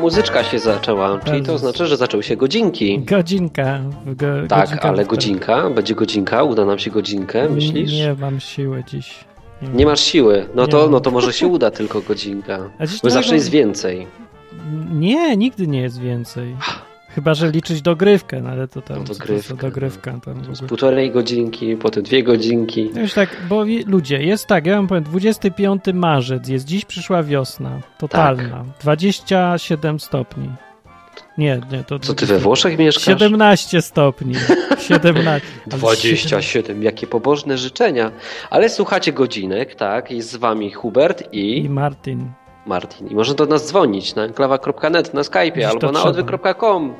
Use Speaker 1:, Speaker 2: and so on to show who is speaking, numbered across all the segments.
Speaker 1: muzyczka się zaczęła, czyli to znaczy, że zaczęły się godzinki.
Speaker 2: Godzinka. Go,
Speaker 1: Tak,
Speaker 2: godzinka
Speaker 1: ale
Speaker 2: w to-
Speaker 1: godzinka, będzie godzinka, uda nam się godzinkę, myślisz?
Speaker 2: Nie mam siły dziś.
Speaker 1: Nie masz siły, no to,
Speaker 2: Nie.
Speaker 1: no to może się uda tylko godzinka.
Speaker 2: A dziś
Speaker 1: Bo
Speaker 2: nie
Speaker 1: zawsze
Speaker 2: mam-
Speaker 1: jest więcej.
Speaker 2: Nie, nigdy nie jest więcej. Chyba, że liczyć dogrywkę, no ale to tam
Speaker 1: No,
Speaker 2: co
Speaker 1: dogrywkę,
Speaker 2: To, to dogrywka tam w
Speaker 1: Z
Speaker 2: ogóle.
Speaker 1: półtorej godzinki, potem dwie godzinki.
Speaker 2: No już tak, bo i- ludzie, jest tak, ja wam powiem, 25 marzec jest, dziś przyszła wiosna, totalna,
Speaker 1: Tak.
Speaker 2: 27 stopni. Nie, nie, to...
Speaker 1: Co ty we Włoszech mieszkasz?
Speaker 2: 17 stopni, 17. ale
Speaker 1: 27, jakie pobożne życzenia. Ale słuchacie godzinek, tak? Jest z wami Hubert
Speaker 2: I
Speaker 1: i
Speaker 2: Martin.
Speaker 1: Martin. I można do nas dzwonić na enklawa.net, na Skype'ie
Speaker 2: To
Speaker 1: albo na
Speaker 2: trzeba.
Speaker 1: odwyk.com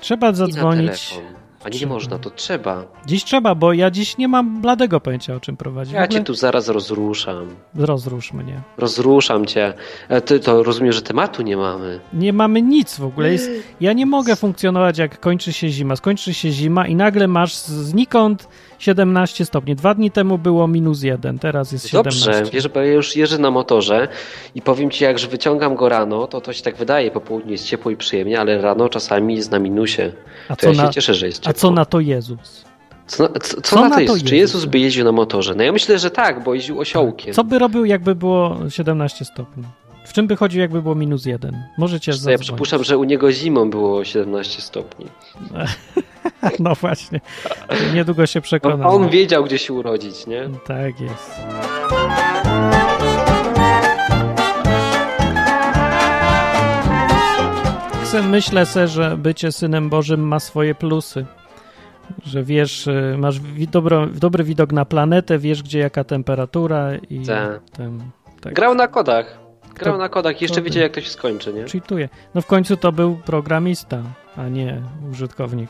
Speaker 2: Trzeba
Speaker 1: i na
Speaker 2: zadzwonić.
Speaker 1: telefon. A nie, nie
Speaker 2: Trzeba.
Speaker 1: można, to trzeba.
Speaker 2: Dziś trzeba, bo ja dziś nie mam bladego pojęcia, o czym prowadzi.
Speaker 1: Ja cię tu zaraz rozruszam.
Speaker 2: Rozrusz mnie.
Speaker 1: Rozruszam cię. E, Ty to rozumiesz, że tematu nie mamy.
Speaker 2: Nie mamy nic w ogóle. Jest, ja nie mogę funkcjonować, jak kończy się zima. Skończy się zima i nagle masz z- znikąd 17 stopni. Dwa dni temu było minus jeden, teraz jest 17.
Speaker 1: Dobrze, wiesz, bo ja już jeżdżę na motorze i powiem ci, jak że wyciągam go rano, to to się tak wydaje, po południu jest ciepło i przyjemnie, ale rano czasami jest na minusie.
Speaker 2: a,
Speaker 1: To
Speaker 2: co
Speaker 1: ja się
Speaker 2: na,
Speaker 1: cieszę, że jest ciepło.
Speaker 2: a co na to Jezus?
Speaker 1: Co na, co, co na to jest? Czy Jezus by jeździł na motorze? No ja myślę, że tak, bo jeździł osiołkiem.
Speaker 2: Co by robił, jakby było 17 stopni? W czym by chodził, jakby było minus jeden? Możecie
Speaker 1: Zresztą ja
Speaker 2: zadzwonić.
Speaker 1: przypuszczam, że u niego zimą było 17 stopni.
Speaker 2: No właśnie. Niedługo się
Speaker 1: On,
Speaker 2: przekonam.
Speaker 1: on wiedział, gdzie się urodzić, nie?
Speaker 2: Tak jest. Se- Myślę se, że bycie synem Bożym ma swoje plusy. Że wiesz, y, masz wi- dobro, dobry widok na planetę, wiesz gdzie jaka temperatura i
Speaker 1: Tak.
Speaker 2: ten, tak.
Speaker 1: Grał na kodach. Grał
Speaker 2: To-
Speaker 1: na kodach, jeszcze
Speaker 2: to-
Speaker 1: wiedział, jak to się skończy, nie?
Speaker 2: Cheatuje. No w końcu to był programista, a nie użytkownik.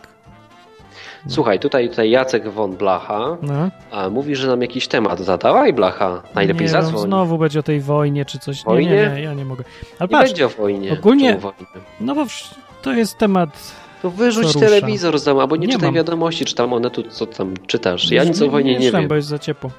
Speaker 1: Słuchaj, tutaj, tutaj Jacek von Blacha
Speaker 2: No.
Speaker 1: a mówi, że nam jakiś temat zadawaj, Blacha. Najlepiej
Speaker 2: nie, no,
Speaker 1: zadzwoń.
Speaker 2: Znowu będzie o tej wojnie czy coś. Nie,
Speaker 1: Wojnie?
Speaker 2: nie, nie, ja nie mogę. Ale
Speaker 1: Nie
Speaker 2: patrz,
Speaker 1: będzie o wojnie.
Speaker 2: Ogólnie-
Speaker 1: Czemu wojnie?
Speaker 2: no bo wsz- to jest temat
Speaker 1: To wyrzuć
Speaker 2: Co rusza?
Speaker 1: telewizor z domu, albo nie,
Speaker 2: Nie
Speaker 1: czytaj
Speaker 2: mam.
Speaker 1: wiadomości, czy tam one tu, co tam czytasz. Ja nic o wojnie nie
Speaker 2: czytam,
Speaker 1: wiem.
Speaker 2: bo jest za ciepło.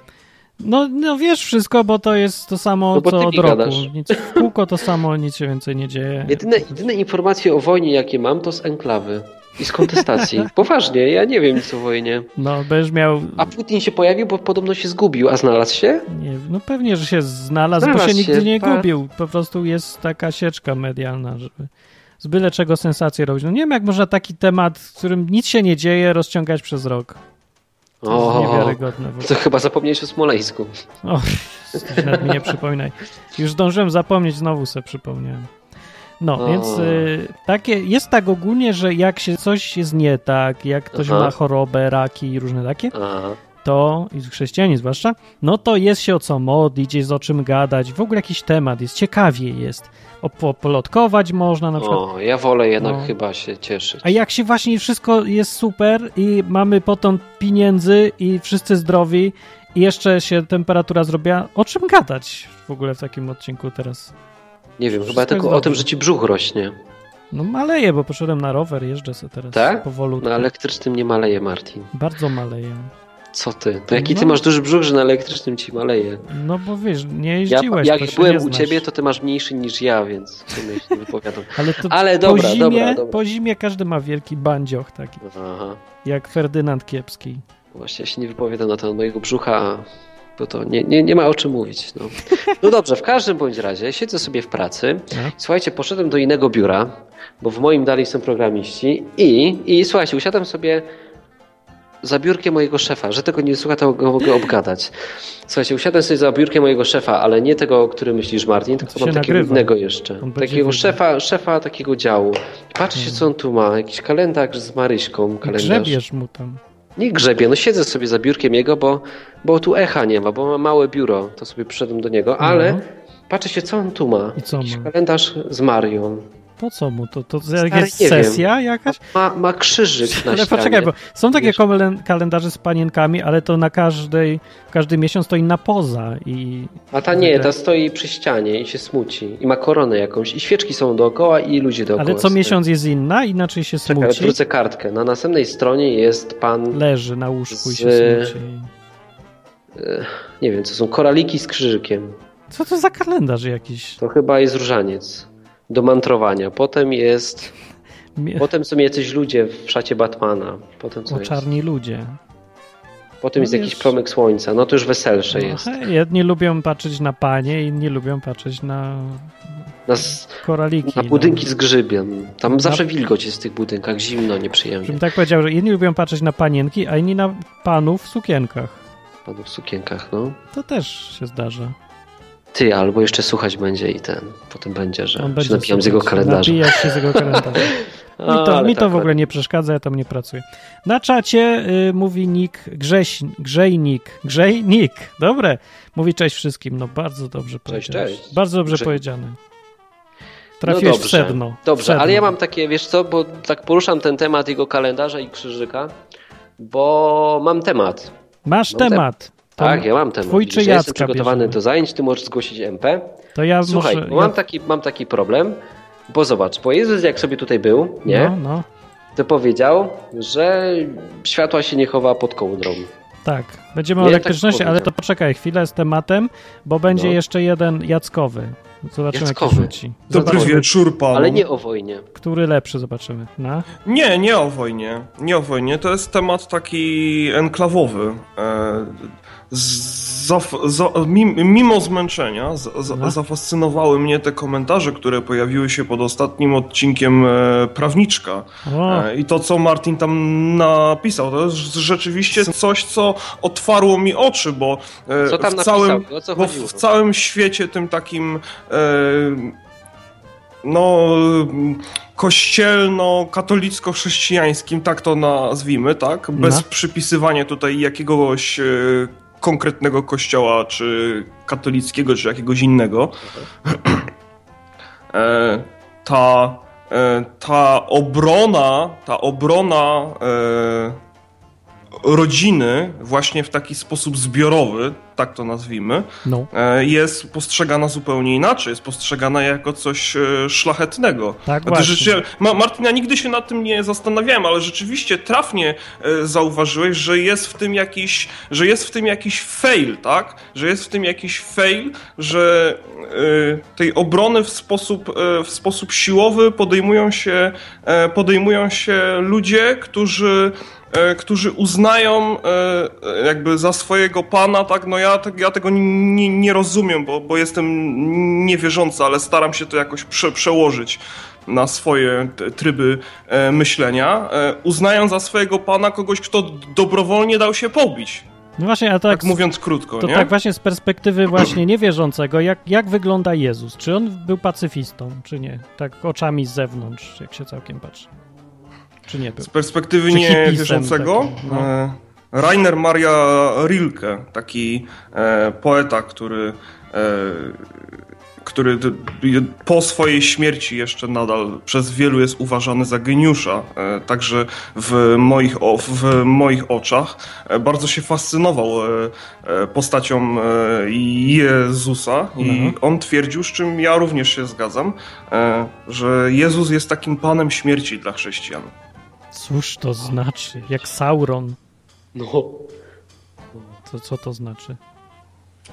Speaker 2: No, no wiesz wszystko, bo to jest to samo
Speaker 1: No bo ty
Speaker 2: co
Speaker 1: mi
Speaker 2: od roku.
Speaker 1: gadasz.
Speaker 2: Nic, w kółko to samo, nic się więcej nie dzieje.
Speaker 1: Jedyne, jedyne informacje o wojnie, jakie mam, to z enklawy i z kontestacji. Poważnie, ja nie wiem nic o wojnie.
Speaker 2: No, będziesz miał...
Speaker 1: A Putin się pojawił, bo podobno się zgubił, a znalazł się?
Speaker 2: Nie, no pewnie, że się znalazł, bo
Speaker 1: Znalazł
Speaker 2: się nigdy
Speaker 1: się,
Speaker 2: nie
Speaker 1: tak.
Speaker 2: gubił. Po prostu jest taka sieczka medialna, żeby z byle czego sensację robić. No nie wiem, jak można taki temat, w którym nic się nie dzieje, rozciągać przez rok. To jest
Speaker 1: O,
Speaker 2: niewiarygodne. w ogóle.
Speaker 1: to chyba zapomniałeś o Smoleńsku.
Speaker 2: O, nawet mi nie przypominaj. Już zdążyłem zapomnieć, znowu sobie przypomniałem. No,
Speaker 1: O.
Speaker 2: więc y, takie, jest tak ogólnie, że jak się coś jest nie tak, jak ktoś
Speaker 1: Aha.
Speaker 2: ma chorobę, raki i różne takie,
Speaker 1: Aha.
Speaker 2: to, i chrześcijanie zwłaszcza, no to jest się o co modlić, jest o czym gadać, w ogóle jakiś temat jest, ciekawie jest. Opo- Polotkować można na przykład.
Speaker 1: O, ja wolę jednak
Speaker 2: No.
Speaker 1: chyba się cieszyć.
Speaker 2: A jak się właśnie wszystko jest super i mamy potem pieniędzy i wszyscy zdrowi i jeszcze się temperatura zrobiła, o czym gadać w ogóle w takim odcinku teraz?
Speaker 1: Nie wiem,
Speaker 2: wszystko
Speaker 1: chyba
Speaker 2: jest
Speaker 1: tylko o
Speaker 2: dobrze.
Speaker 1: tym, że ci brzuch rośnie.
Speaker 2: No maleję, bo poszedłem na rower, jeżdżę sobie teraz
Speaker 1: Tak?
Speaker 2: powolutku.
Speaker 1: Na elektrycznym nie maleje, Martin.
Speaker 2: Bardzo maleję.
Speaker 1: Co ty? To jaki ty
Speaker 2: No.
Speaker 1: masz duży brzuch, że na elektrycznym ci maleje?
Speaker 2: No bo wiesz, nie
Speaker 1: Ja,
Speaker 2: jeździłeś, to
Speaker 1: jak
Speaker 2: się nie
Speaker 1: byłem u
Speaker 2: znasz.
Speaker 1: ciebie, to ty masz mniejszy niż ja, więc w sumie się nie wypowiadam.
Speaker 2: Ale, to
Speaker 1: Ale
Speaker 2: po
Speaker 1: dobra,
Speaker 2: zimie,
Speaker 1: dobra, dobra.
Speaker 2: Po zimie każdy ma wielki bandzioch taki,
Speaker 1: Aha.
Speaker 2: jak Ferdynand Kiepski.
Speaker 1: Właśnie ja się nie wypowiadam na temat mojego brzucha, bo to nie, nie, nie ma o czym mówić. No. no dobrze, w każdym bądź razie siedzę sobie w pracy.
Speaker 2: No.
Speaker 1: Słuchajcie, poszedłem do innego biura, bo w moim dalej są programiści i, i słuchajcie, usiadłem sobie za biurkiem mojego szefa, że tego nie słucha, to go mogę obgadać. Słuchajcie, usiadłem sobie za biurkiem mojego szefa, ale nie tego, o którym myślisz, Martin, tylko
Speaker 2: To się
Speaker 1: mam takiego
Speaker 2: nagrywa.
Speaker 1: innego jeszcze.
Speaker 2: będzie
Speaker 1: Takiego
Speaker 2: wiedział. Hmm.
Speaker 1: szefa, szefa takiego działu. Patrzcie, co on tu ma. Jakiś kalendarz z Maryśką.
Speaker 2: I
Speaker 1: Kalendarz.
Speaker 2: Grzebiesz mu tam.
Speaker 1: Nie grzebie, no siedzę sobie za biurkiem jego, bo, bo tu echa nie ma, bo ma małe biuro, to sobie przyszedłem do niego, ale
Speaker 2: No.
Speaker 1: patrzę się, co on tu ma.
Speaker 2: I co
Speaker 1: Jakiś
Speaker 2: ma?
Speaker 1: kalendarz z Marią.
Speaker 2: Po co mu to? To, to
Speaker 1: Stary,
Speaker 2: jest
Speaker 1: nie wiem.
Speaker 2: sesja jakaś?
Speaker 1: Ma, ma krzyżyk na
Speaker 2: Ale
Speaker 1: ścianie.
Speaker 2: poczekaj, bo są takie
Speaker 1: Wiesz-
Speaker 2: komelen- kalendarze z panienkami, ale to na każdej, każdy miesiąc to inna poza i
Speaker 1: A ta nie, ta stoi przy ścianie i się smuci. I ma koronę jakąś. I świeczki są dookoła i ludzie dookoła.
Speaker 2: ale co
Speaker 1: stoją.
Speaker 2: miesiąc jest inna, inaczej się
Speaker 1: Czekaj,
Speaker 2: smuci,
Speaker 1: odwrócę kartkę. Na następnej stronie jest pan,
Speaker 2: leży na łóżku i się
Speaker 1: z-
Speaker 2: smuci.
Speaker 1: nie wiem, co są koraliki z krzyżykiem.
Speaker 2: Co to za kalendarz jakiś?
Speaker 1: To chyba jest różaniec. do mantrowania. Potem jest. Potem są jacyś ludzie w szacie Batmana. Potem co
Speaker 2: O
Speaker 1: jest?
Speaker 2: czarni ludzie.
Speaker 1: Potem
Speaker 2: No
Speaker 1: jest jakiś
Speaker 2: wiesz-
Speaker 1: promyk słońca. No to już weselsze jest.
Speaker 2: Aha, jedni lubią patrzeć na panie, inni lubią patrzeć na
Speaker 1: Na, s-
Speaker 2: koraliki.
Speaker 1: na
Speaker 2: no.
Speaker 1: budynki z grzybiem. Tam zawsze wilgoć jest w tych budynkach. Zimno, nieprzyjemnie.
Speaker 2: Żebym tak powiedział, że jedni lubią patrzeć na panienki, a inni na panów w sukienkach.
Speaker 1: Panu w sukienkach, no.
Speaker 2: To też się zdarza.
Speaker 1: Ty, albo jeszcze słuchać będzie i ten. Potem będzie, że
Speaker 2: On
Speaker 1: się napijam z
Speaker 2: sobie-
Speaker 1: jego kalendarza.
Speaker 2: Napija się z jego kalendarza. Mi
Speaker 1: A,
Speaker 2: to,
Speaker 1: ale
Speaker 2: mi to
Speaker 1: tak,
Speaker 2: w ogóle nie przeszkadza, ja tam nie pracuję. Na czacie y, mówi Nick Grześ, Grzejnik. Grzejnik, dobre. Mówi cześć wszystkim, no bardzo dobrze powiedziałeś.
Speaker 1: cześć.
Speaker 2: Bardzo dobrze
Speaker 1: Grzej-
Speaker 2: powiedziane. Trafiłeś w
Speaker 1: dobrze.
Speaker 2: sedno. w
Speaker 1: Dobrze,
Speaker 2: sedno.
Speaker 1: ale ja mam takie, wiesz co, bo tak poruszam ten temat jego kalendarza i krzyżyka, bo mam temat.
Speaker 2: Masz
Speaker 1: mam te-
Speaker 2: temat. To-
Speaker 1: no, Tak, ja mam temat.
Speaker 2: twój
Speaker 1: Widzisz,
Speaker 2: czy
Speaker 1: ja jestem
Speaker 2: Jacka
Speaker 1: przygotowany
Speaker 2: bierzemy?
Speaker 1: do zajęć, ty możesz zgłosić MP.
Speaker 2: To ja
Speaker 1: Słuchaj,
Speaker 2: muszę...
Speaker 1: bo mam, taki, mam taki problem, bo zobacz, bo Jezus jak sobie tutaj był, nie,
Speaker 2: No, no,
Speaker 1: to powiedział, że światła się nie chowa pod kołdrą.
Speaker 2: tak. Będziemy o
Speaker 1: Nie, tak
Speaker 2: elektryczności, ale to
Speaker 1: powiedział.
Speaker 2: poczekaj chwilę z tematem, bo będzie
Speaker 1: No.
Speaker 2: jeszcze jeden Jackowy. Zobaczymy,
Speaker 1: Jackowy.
Speaker 2: jaki rzuci.
Speaker 3: Dobry
Speaker 2: Zobaczymy,
Speaker 3: wieczór, panu.
Speaker 1: Ale nie o wojnie.
Speaker 2: który lepszy, zobaczymy. No.
Speaker 3: Nie, nie o wojnie. Nie o wojnie. To jest temat taki enklawowy. E, z- Za, za, mim- mimo zmęczenia za,
Speaker 2: No.
Speaker 1: Mhm.
Speaker 3: za, zafascynowały mnie te komentarze, które pojawiły się pod ostatnim odcinkiem e, Prawniczka.
Speaker 2: O,
Speaker 3: E, I to, co Martin tam napisał, to jest rzeczywiście coś, co otwarło mi oczy, bo e,
Speaker 1: Co tam
Speaker 3: w całym,
Speaker 1: napisał? O co
Speaker 3: bo
Speaker 1: chodziło?
Speaker 3: w całym świecie tym takim e, no kościelno-katolicko-chrześcijańskim, tak to nazwijmy, tak? Bez
Speaker 2: No.
Speaker 3: przypisywania tutaj jakiegoś e, konkretnego kościoła, czy katolickiego, czy jakiegoś innego. E, ta, e, ta obrona, ta obrona e, rodziny właśnie w taki sposób zbiorowy, tak to nazwijmy,
Speaker 2: no,
Speaker 3: e, jest postrzegana zupełnie inaczej, jest postrzegana jako coś e, szlachetnego. Znaczy,
Speaker 2: tak
Speaker 3: A ty
Speaker 2: właśnie.
Speaker 3: rzeczywiście, Ma, Martina, nigdy się nad tym nie zastanawiałem, ale rzeczywiście trafnie e, zauważyłeś, że jest w tym jakiś, że jest w tym jakiś fail, tak? Że jest w tym jakiś fail, że e, tej obrony w sposób, e, w sposób siłowy podejmują się, e, podejmują się ludzie, którzy e, którzy uznają e, jakby za swojego pana, tak, no ja, te- ja tego nie, nie rozumiem, bo, bo jestem niewierzący, ale staram się to jakoś prze, przełożyć na swoje t- tryby e, myślenia, e, uznają za swojego pana kogoś, kto dobrowolnie dał się pobić.
Speaker 2: No właśnie, a
Speaker 3: Tak,
Speaker 2: tak,
Speaker 3: mówiąc krótko,
Speaker 2: to
Speaker 3: nie?
Speaker 2: tak właśnie z perspektywy właśnie niewierzącego, jak, jak wygląda Jezus? Czy on był pacyfistą, czy nie? Tak oczami z zewnątrz, jak się całkiem patrzy. Czy nie był?
Speaker 3: Z perspektywy
Speaker 2: Czy hipisem
Speaker 3: niewierzącego,
Speaker 2: takim, no.
Speaker 3: e, Rainer Maria Rilke, taki e, poeta, który, e, który d- po swojej śmierci jeszcze nadal przez wielu jest uważany za geniusza, e, także w moich, o, w moich oczach, e, bardzo się fascynował e, e, postacią e, Jezusa i
Speaker 2: Mhm.
Speaker 3: on twierdził, z czym ja również się zgadzam, e, że Jezus jest takim panem śmierci dla chrześcijan.
Speaker 2: Cóż to znaczy? Jak Sauron,
Speaker 1: No,
Speaker 2: to co to znaczy?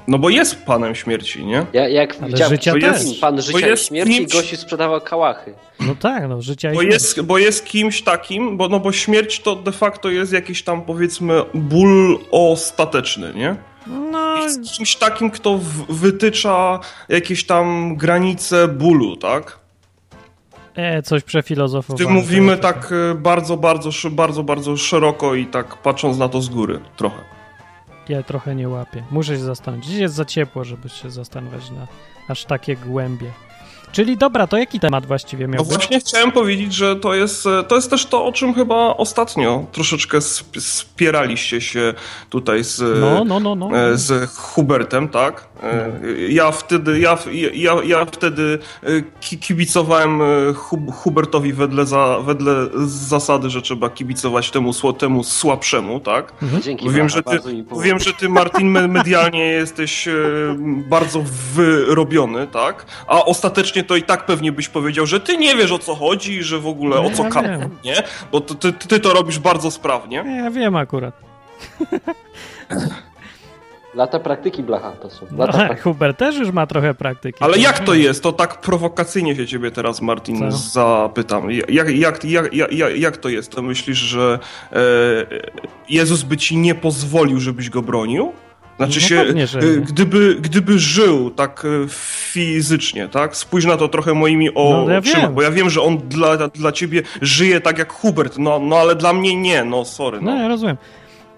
Speaker 3: No bo jest panem śmierci, nie?
Speaker 1: ja, jak
Speaker 2: Ale
Speaker 1: widziałem
Speaker 2: życia
Speaker 1: pan,
Speaker 3: też.
Speaker 1: pan
Speaker 3: Bo
Speaker 1: życia i
Speaker 3: jest
Speaker 1: śmierci,
Speaker 3: kimś-
Speaker 1: gości sprzedawał kałachy.
Speaker 2: No tak, no życia i
Speaker 3: Bo
Speaker 2: śmierci.
Speaker 3: jest, bo jest kimś takim, bo, no bo śmierć to de facto jest jakiś tam powiedzmy ból ostateczny, nie?
Speaker 2: No,
Speaker 3: Jest kimś takim, kto w- wytycza jakieś tam granice bólu, tak?
Speaker 2: e, coś
Speaker 3: W
Speaker 2: przefilozofowałem.
Speaker 3: tym mówimy tak e, bardzo, bardzo, szy- bardzo, bardzo szeroko i tak patrząc na to z góry trochę.
Speaker 2: Ja trochę nie łapię. Muszę się zastanowić. Dziś jest za ciepło, żeby się zastanawiać na aż takie głębie. Czyli dobra, to jaki temat właściwie miał
Speaker 3: No
Speaker 2: być?
Speaker 3: właśnie chciałem powiedzieć, że to jest, e, to jest też to, o czym chyba ostatnio troszeczkę sp- spieraliście się tutaj z, e,
Speaker 2: No, no, no, no.
Speaker 3: e, z Hubertem, tak? E, Ja wtedy, ja, w- ja, ja wtedy e, ki- kibicowałem e, Hub- Hubertowi wedle, za, wedle zasady, że trzeba kibicować temu, sło- temu słabszemu, tak?
Speaker 2: Hmm?
Speaker 1: Dzięki,
Speaker 3: Wiem
Speaker 1: Marta,
Speaker 3: że, ty,
Speaker 1: bardzo mi pomogłeś.
Speaker 3: wiem, że ty, Martin, me- medialnie jesteś e, bardzo wyrobiony, tak? A ostatecznie to i tak pewnie byś powiedział, że ty nie wiesz o co chodzi i że w ogóle
Speaker 2: No
Speaker 3: o
Speaker 2: ja
Speaker 3: co kapną,
Speaker 2: wiem.
Speaker 3: nie? Bo to, ty, ty to robisz bardzo sprawnie.
Speaker 2: Ja wiem akurat.
Speaker 1: Lata praktyki blacha to są.
Speaker 2: No,
Speaker 1: Lata praktyki.
Speaker 2: Hubert też już ma trochę praktyki.
Speaker 3: Ale jak to jest? To tak prowokacyjnie się ciebie teraz, Martin,
Speaker 2: Co?
Speaker 3: zapytam. Jak, jak, jak, jak, jak, jak to jest? To myślisz, że e, Jezus by ci nie pozwolił, żebyś go bronił? Znaczy
Speaker 2: No
Speaker 3: się,
Speaker 2: pewnie, że
Speaker 3: e,
Speaker 2: nie.
Speaker 3: gdyby, gdyby żył tak e, fizycznie, tak? Spójrz na to trochę moimi
Speaker 2: No, ja
Speaker 3: oczyma,
Speaker 2: wiem.
Speaker 3: bo ja wiem, że on dla, dla ciebie żyje tak jak Hubert, no, no ale dla mnie nie, no sorry. No.
Speaker 2: No, ja rozumiem.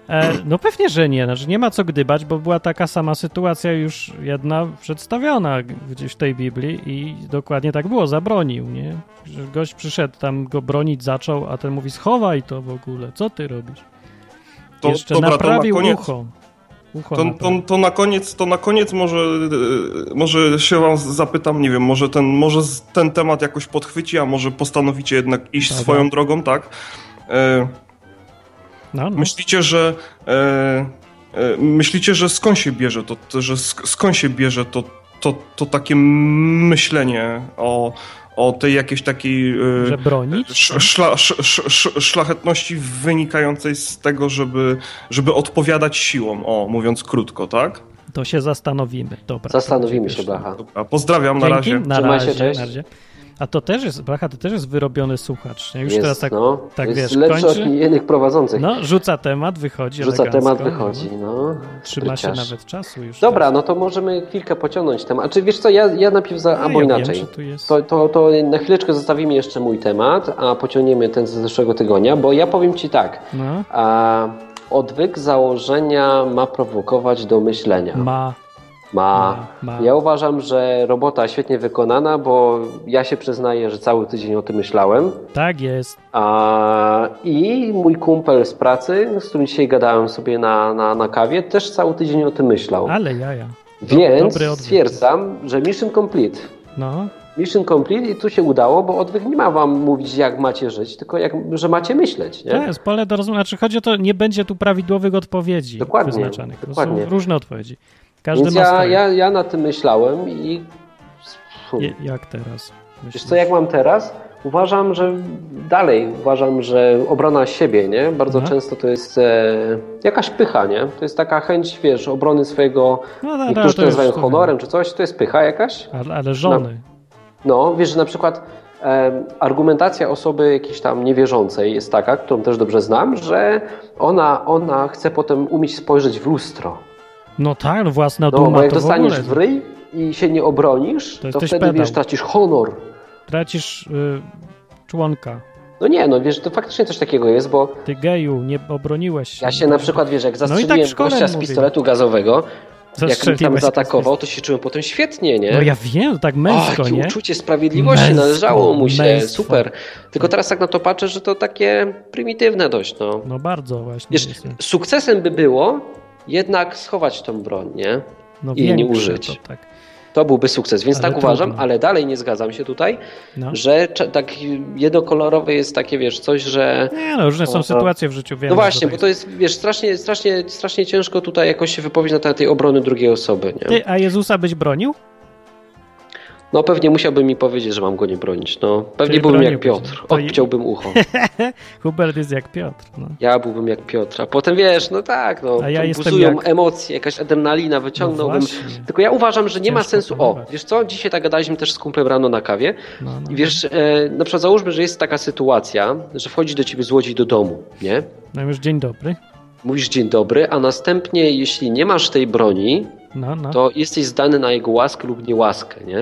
Speaker 2: E, no pewnie, że nie. Znaczy, nie ma co gdybać, bo była taka sama sytuacja już jedna przedstawiona g- gdzieś w tej Biblii i dokładnie tak było, zabronił, nie? Że gość przyszedł tam, go bronić zaczął, a ten mówi, schowaj to w ogóle, co ty robisz?
Speaker 3: To-
Speaker 2: Jeszcze
Speaker 3: dobra, to na
Speaker 2: naprawił
Speaker 3: koniec.
Speaker 2: ucho. Ucho
Speaker 3: To, to,
Speaker 2: naprawił.
Speaker 3: to na koniec, to na koniec może, e, może się wam zapytam, nie wiem, może ten, może z- ten temat jakoś podchwyci, a może postanowicie jednak iść
Speaker 2: Dobra.
Speaker 3: swoją drogą, tak? E,
Speaker 2: No, no.
Speaker 3: myślicie, że e, e, myślicie, że skąd się bierze to, to że sk- skąd się bierze to, to, to takie myślenie o, o tej jakiejś takiej e,
Speaker 2: Że bronić?
Speaker 3: Sz- Szla, sz- sz- sz- szlachetności wynikającej z tego, żeby, żeby odpowiadać siłą, o, mówiąc krótko, tak?
Speaker 2: To się zastanowimy. Dobra.
Speaker 1: Zastanowimy
Speaker 2: to
Speaker 1: się, blacha.
Speaker 3: A pozdrawiam na
Speaker 2: Dzięki,
Speaker 3: razie.
Speaker 2: na
Speaker 1: Trzymaj
Speaker 2: razie,
Speaker 1: się, cześć.
Speaker 2: na razie. A to też jest, Blacha, to też jest wyrobiony słuchacz. nie? Już
Speaker 1: jest,
Speaker 2: teraz tak,
Speaker 1: no,
Speaker 2: tak
Speaker 1: jest
Speaker 2: wiesz,
Speaker 1: lepszy
Speaker 2: kończy.
Speaker 1: od innych prowadzących.
Speaker 2: No, rzuca temat, wychodzi
Speaker 1: Rzuca
Speaker 2: elegancko,
Speaker 1: temat, wychodzi.
Speaker 2: No.
Speaker 1: No.
Speaker 2: Trzyma się
Speaker 1: Spryciarz.
Speaker 2: nawet czasu już.
Speaker 1: Dobra,
Speaker 2: teraz.
Speaker 1: no to możemy chwilkę pociągnąć temat. A czy wiesz co, ja, ja najpierw za,
Speaker 2: A,
Speaker 1: no,
Speaker 2: No,
Speaker 1: albo
Speaker 2: ja
Speaker 1: inaczej.
Speaker 2: Wiem, że tu jest...
Speaker 1: To, to, to na chwileczkę zostawimy jeszcze mój temat, a pociągniemy ten z zeszłego tygodnia, bo ja powiem Ci tak.
Speaker 2: No,
Speaker 1: A, odwyk założenia ma prowokować do myślenia.
Speaker 2: ma,
Speaker 1: Ma.
Speaker 2: ma, ma.
Speaker 1: Ja uważam, że robota świetnie wykonana, bo ja się przyznaję, że cały tydzień o tym myślałem.
Speaker 2: Tak jest.
Speaker 1: A, I mój kumpel z pracy, z którym dzisiaj gadałem sobie na, na, na kawie, też cały tydzień o tym myślał.
Speaker 2: Ale jaja.
Speaker 1: Więc
Speaker 2: dobry odwyk.
Speaker 1: stwierdzam, że mission complete.
Speaker 2: No,
Speaker 1: Mission complete i tu się udało, bo odwyk nie ma wam mówić, jak macie żyć, tylko jak, że macie myśleć.
Speaker 2: to
Speaker 1: Nie?
Speaker 2: jest pole do rozumienia. Znaczy, chodzi o to, nie będzie tu prawidłowych odpowiedzi
Speaker 1: Dokładnie,
Speaker 2: wyznaczanych. To
Speaker 1: dokładnie.
Speaker 2: Są różne odpowiedzi. Każdy
Speaker 1: Więc
Speaker 2: ma
Speaker 1: ja,
Speaker 2: swoje.
Speaker 1: ja, ja na tym myślałem i Fu.
Speaker 2: Je, jak teraz?
Speaker 1: wiesz
Speaker 2: myślisz?
Speaker 1: co, jak mam teraz? Uważam, że dalej uważam, że obrona siebie, nie? Bardzo
Speaker 2: Mhm.
Speaker 1: często to jest e, jakaś pycha, nie? To jest taka chęć, wiesz, obrony swojego,
Speaker 2: No, no, no,
Speaker 1: niektórzy to
Speaker 2: już
Speaker 1: nazywają
Speaker 2: to
Speaker 1: honorem czy coś, to jest pycha jakaś?
Speaker 2: wiem. Ale, ale żony.
Speaker 1: No, wiesz, że na przykład em, argumentacja osoby jakiejś tam niewierzącej jest taka, którą też dobrze znam, że ona, ona chce potem umieć spojrzeć w lustro.
Speaker 2: No tak, no własna
Speaker 1: No,
Speaker 2: duma
Speaker 1: bo jak
Speaker 2: to w ogóle.
Speaker 1: dostaniesz w ryj i się nie obronisz,
Speaker 2: To
Speaker 1: to,
Speaker 2: jesteś
Speaker 1: wtedy,
Speaker 2: pedał.
Speaker 1: wiesz, tracisz honor.
Speaker 2: Tracisz y, członka.
Speaker 1: No nie, no wiesz, to faktycznie coś takiego jest, bo
Speaker 2: Ty geju, nie obroniłeś się.
Speaker 1: ja się na przykład, wiesz, jak
Speaker 2: i tak w
Speaker 1: zastrzeliłem
Speaker 2: szkole
Speaker 1: gościa z
Speaker 2: mówili.
Speaker 1: pistoletu gazowego, jak mnie tam
Speaker 2: Zastrzeliłeś-
Speaker 1: zaatakował, to się czułem potem świetnie, nie?
Speaker 2: No ja wiem, tak
Speaker 1: Męsko,
Speaker 2: męsko,
Speaker 1: jakie
Speaker 2: nie?
Speaker 1: uczucie sprawiedliwości
Speaker 2: Męsko,
Speaker 1: należało mu się,
Speaker 2: męstwo.
Speaker 1: super. Tylko teraz tak na to patrzę, że to takie prymitywne dość, no.
Speaker 2: No bardzo właśnie.
Speaker 1: Wiesz,
Speaker 2: jest.
Speaker 1: sukcesem by było jednak schować tą broń, nie?
Speaker 2: no,
Speaker 1: i nie
Speaker 2: większe
Speaker 1: użyć.
Speaker 2: To, tak.
Speaker 1: To byłby sukces, więc
Speaker 2: Ale
Speaker 1: tak uważam,
Speaker 2: trudno.
Speaker 1: ale dalej nie zgadzam się tutaj,
Speaker 2: No.
Speaker 1: że cze- tak jednokolorowe jest takie, wiesz, coś, że...
Speaker 2: Nie, no różne są
Speaker 1: No,
Speaker 2: sytuacje w życiu, wiem.
Speaker 1: No
Speaker 2: że
Speaker 1: właśnie, bo
Speaker 2: tak
Speaker 1: to jest, wiesz, strasznie, strasznie, strasznie ciężko tutaj jakoś się wypowiedzieć na temat tej obrony drugiej osoby, nie?
Speaker 2: Ty, a Jezusa byś bronił?
Speaker 1: No pewnie musiałby mi powiedzieć, że mam go nie bronić, no. Pewnie
Speaker 2: Czyli
Speaker 1: byłbym jak
Speaker 2: broniłbyś.
Speaker 1: Piotr,
Speaker 2: To i-
Speaker 1: odciąłbym ucho.
Speaker 2: Hubert jest jak Piotr. No.
Speaker 1: Ja byłbym jak Piotr, a potem wiesz, no tak, no,
Speaker 2: A ja
Speaker 1: tu
Speaker 2: jestem
Speaker 1: buzują
Speaker 2: jak-
Speaker 1: emocje, jakaś adrenalina, wyciągnąłbym.
Speaker 2: No właśnie.
Speaker 1: Tylko ja uważam, że nie ma
Speaker 2: Ciężko
Speaker 1: sensu. O,
Speaker 2: próbować.
Speaker 1: wiesz co, dzisiaj tak gadaliśmy też z kumplem rano na kawie
Speaker 2: No, no.
Speaker 1: i wiesz, e, na przykład załóżmy, że jest taka sytuacja, że wchodzi do ciebie złodziej do domu, nie?
Speaker 2: no już dzień dobry.
Speaker 1: Mówisz dzień dobry, a następnie jeśli nie masz tej broni,
Speaker 2: No, no.
Speaker 1: to jesteś zdany na jego łaskę lub niełaskę, nie?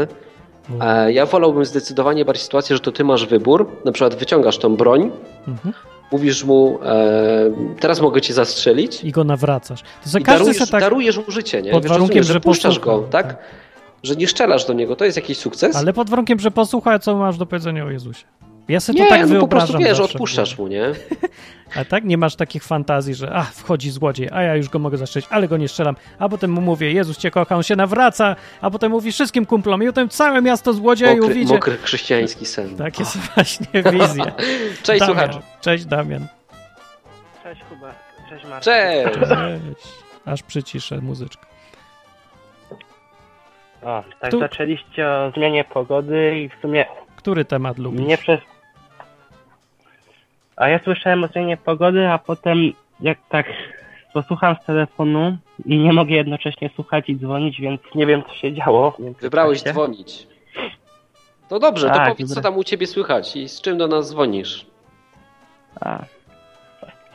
Speaker 2: No.
Speaker 1: E, ja wolałbym zdecydowanie bardziej sytuację, że to ty masz wybór, na przykład wyciągasz tą broń,
Speaker 2: Mhm.
Speaker 1: mówisz mu, e, teraz mogę cię zastrzelić,
Speaker 2: I go nawracasz. To za
Speaker 1: I
Speaker 2: każdy
Speaker 1: darujesz,
Speaker 2: se tak.
Speaker 1: darujesz mu życie, nie?
Speaker 2: pod
Speaker 1: Wiesz,
Speaker 2: warunkiem,
Speaker 1: rozumiesz,
Speaker 2: że
Speaker 1: że puszczasz
Speaker 2: posłucha.
Speaker 1: go, tak? Że nie szczelasz do niego, to jest jakiś sukces.
Speaker 2: Ale pod warunkiem, że posłucha, co masz do powiedzenia o Jezusie. Ja sobie
Speaker 1: nie,
Speaker 2: to tak
Speaker 1: no po
Speaker 2: wyobrażam.
Speaker 1: prostu wiesz,
Speaker 2: zawsze.
Speaker 1: odpuszczasz mu, nie?
Speaker 2: A tak nie masz takich fantazji, że a, wchodzi złodziej, a ja już go mogę zastrzelić, ale go nie strzelam, a potem mu mówię, Jezus cię kocha, on się nawraca, a potem mówi wszystkim kumplom i potem całe miasto złodziejów
Speaker 1: Mokry,
Speaker 2: idzie.
Speaker 1: mokry chrześcijański sen.
Speaker 2: Tak jest właśnie wizja.
Speaker 1: Cześć
Speaker 2: Damian.
Speaker 1: słuchaczu.
Speaker 2: Cześć Damian.
Speaker 4: Cześć Kuba, cześć Marcin.
Speaker 1: Cześć!
Speaker 2: Cześć. Aż przyciszę muzyczkę.
Speaker 4: O, tak
Speaker 2: Tu-
Speaker 4: zaczęliście o zmianie pogody i w sumie
Speaker 2: Który temat lubisz?
Speaker 4: mnie przez... A ja słyszałem o zmianie pogody, a potem jak tak posłucham z telefonu i nie mogę jednocześnie słuchać i dzwonić, więc nie wiem, co się działo. w międzyczasie.
Speaker 1: Wybrałeś dzwonić. To dobrze, to
Speaker 4: Tak,
Speaker 1: powiedz, co
Speaker 4: wybra-
Speaker 1: tam u ciebie słychać i z czym do nas dzwonisz.
Speaker 4: A.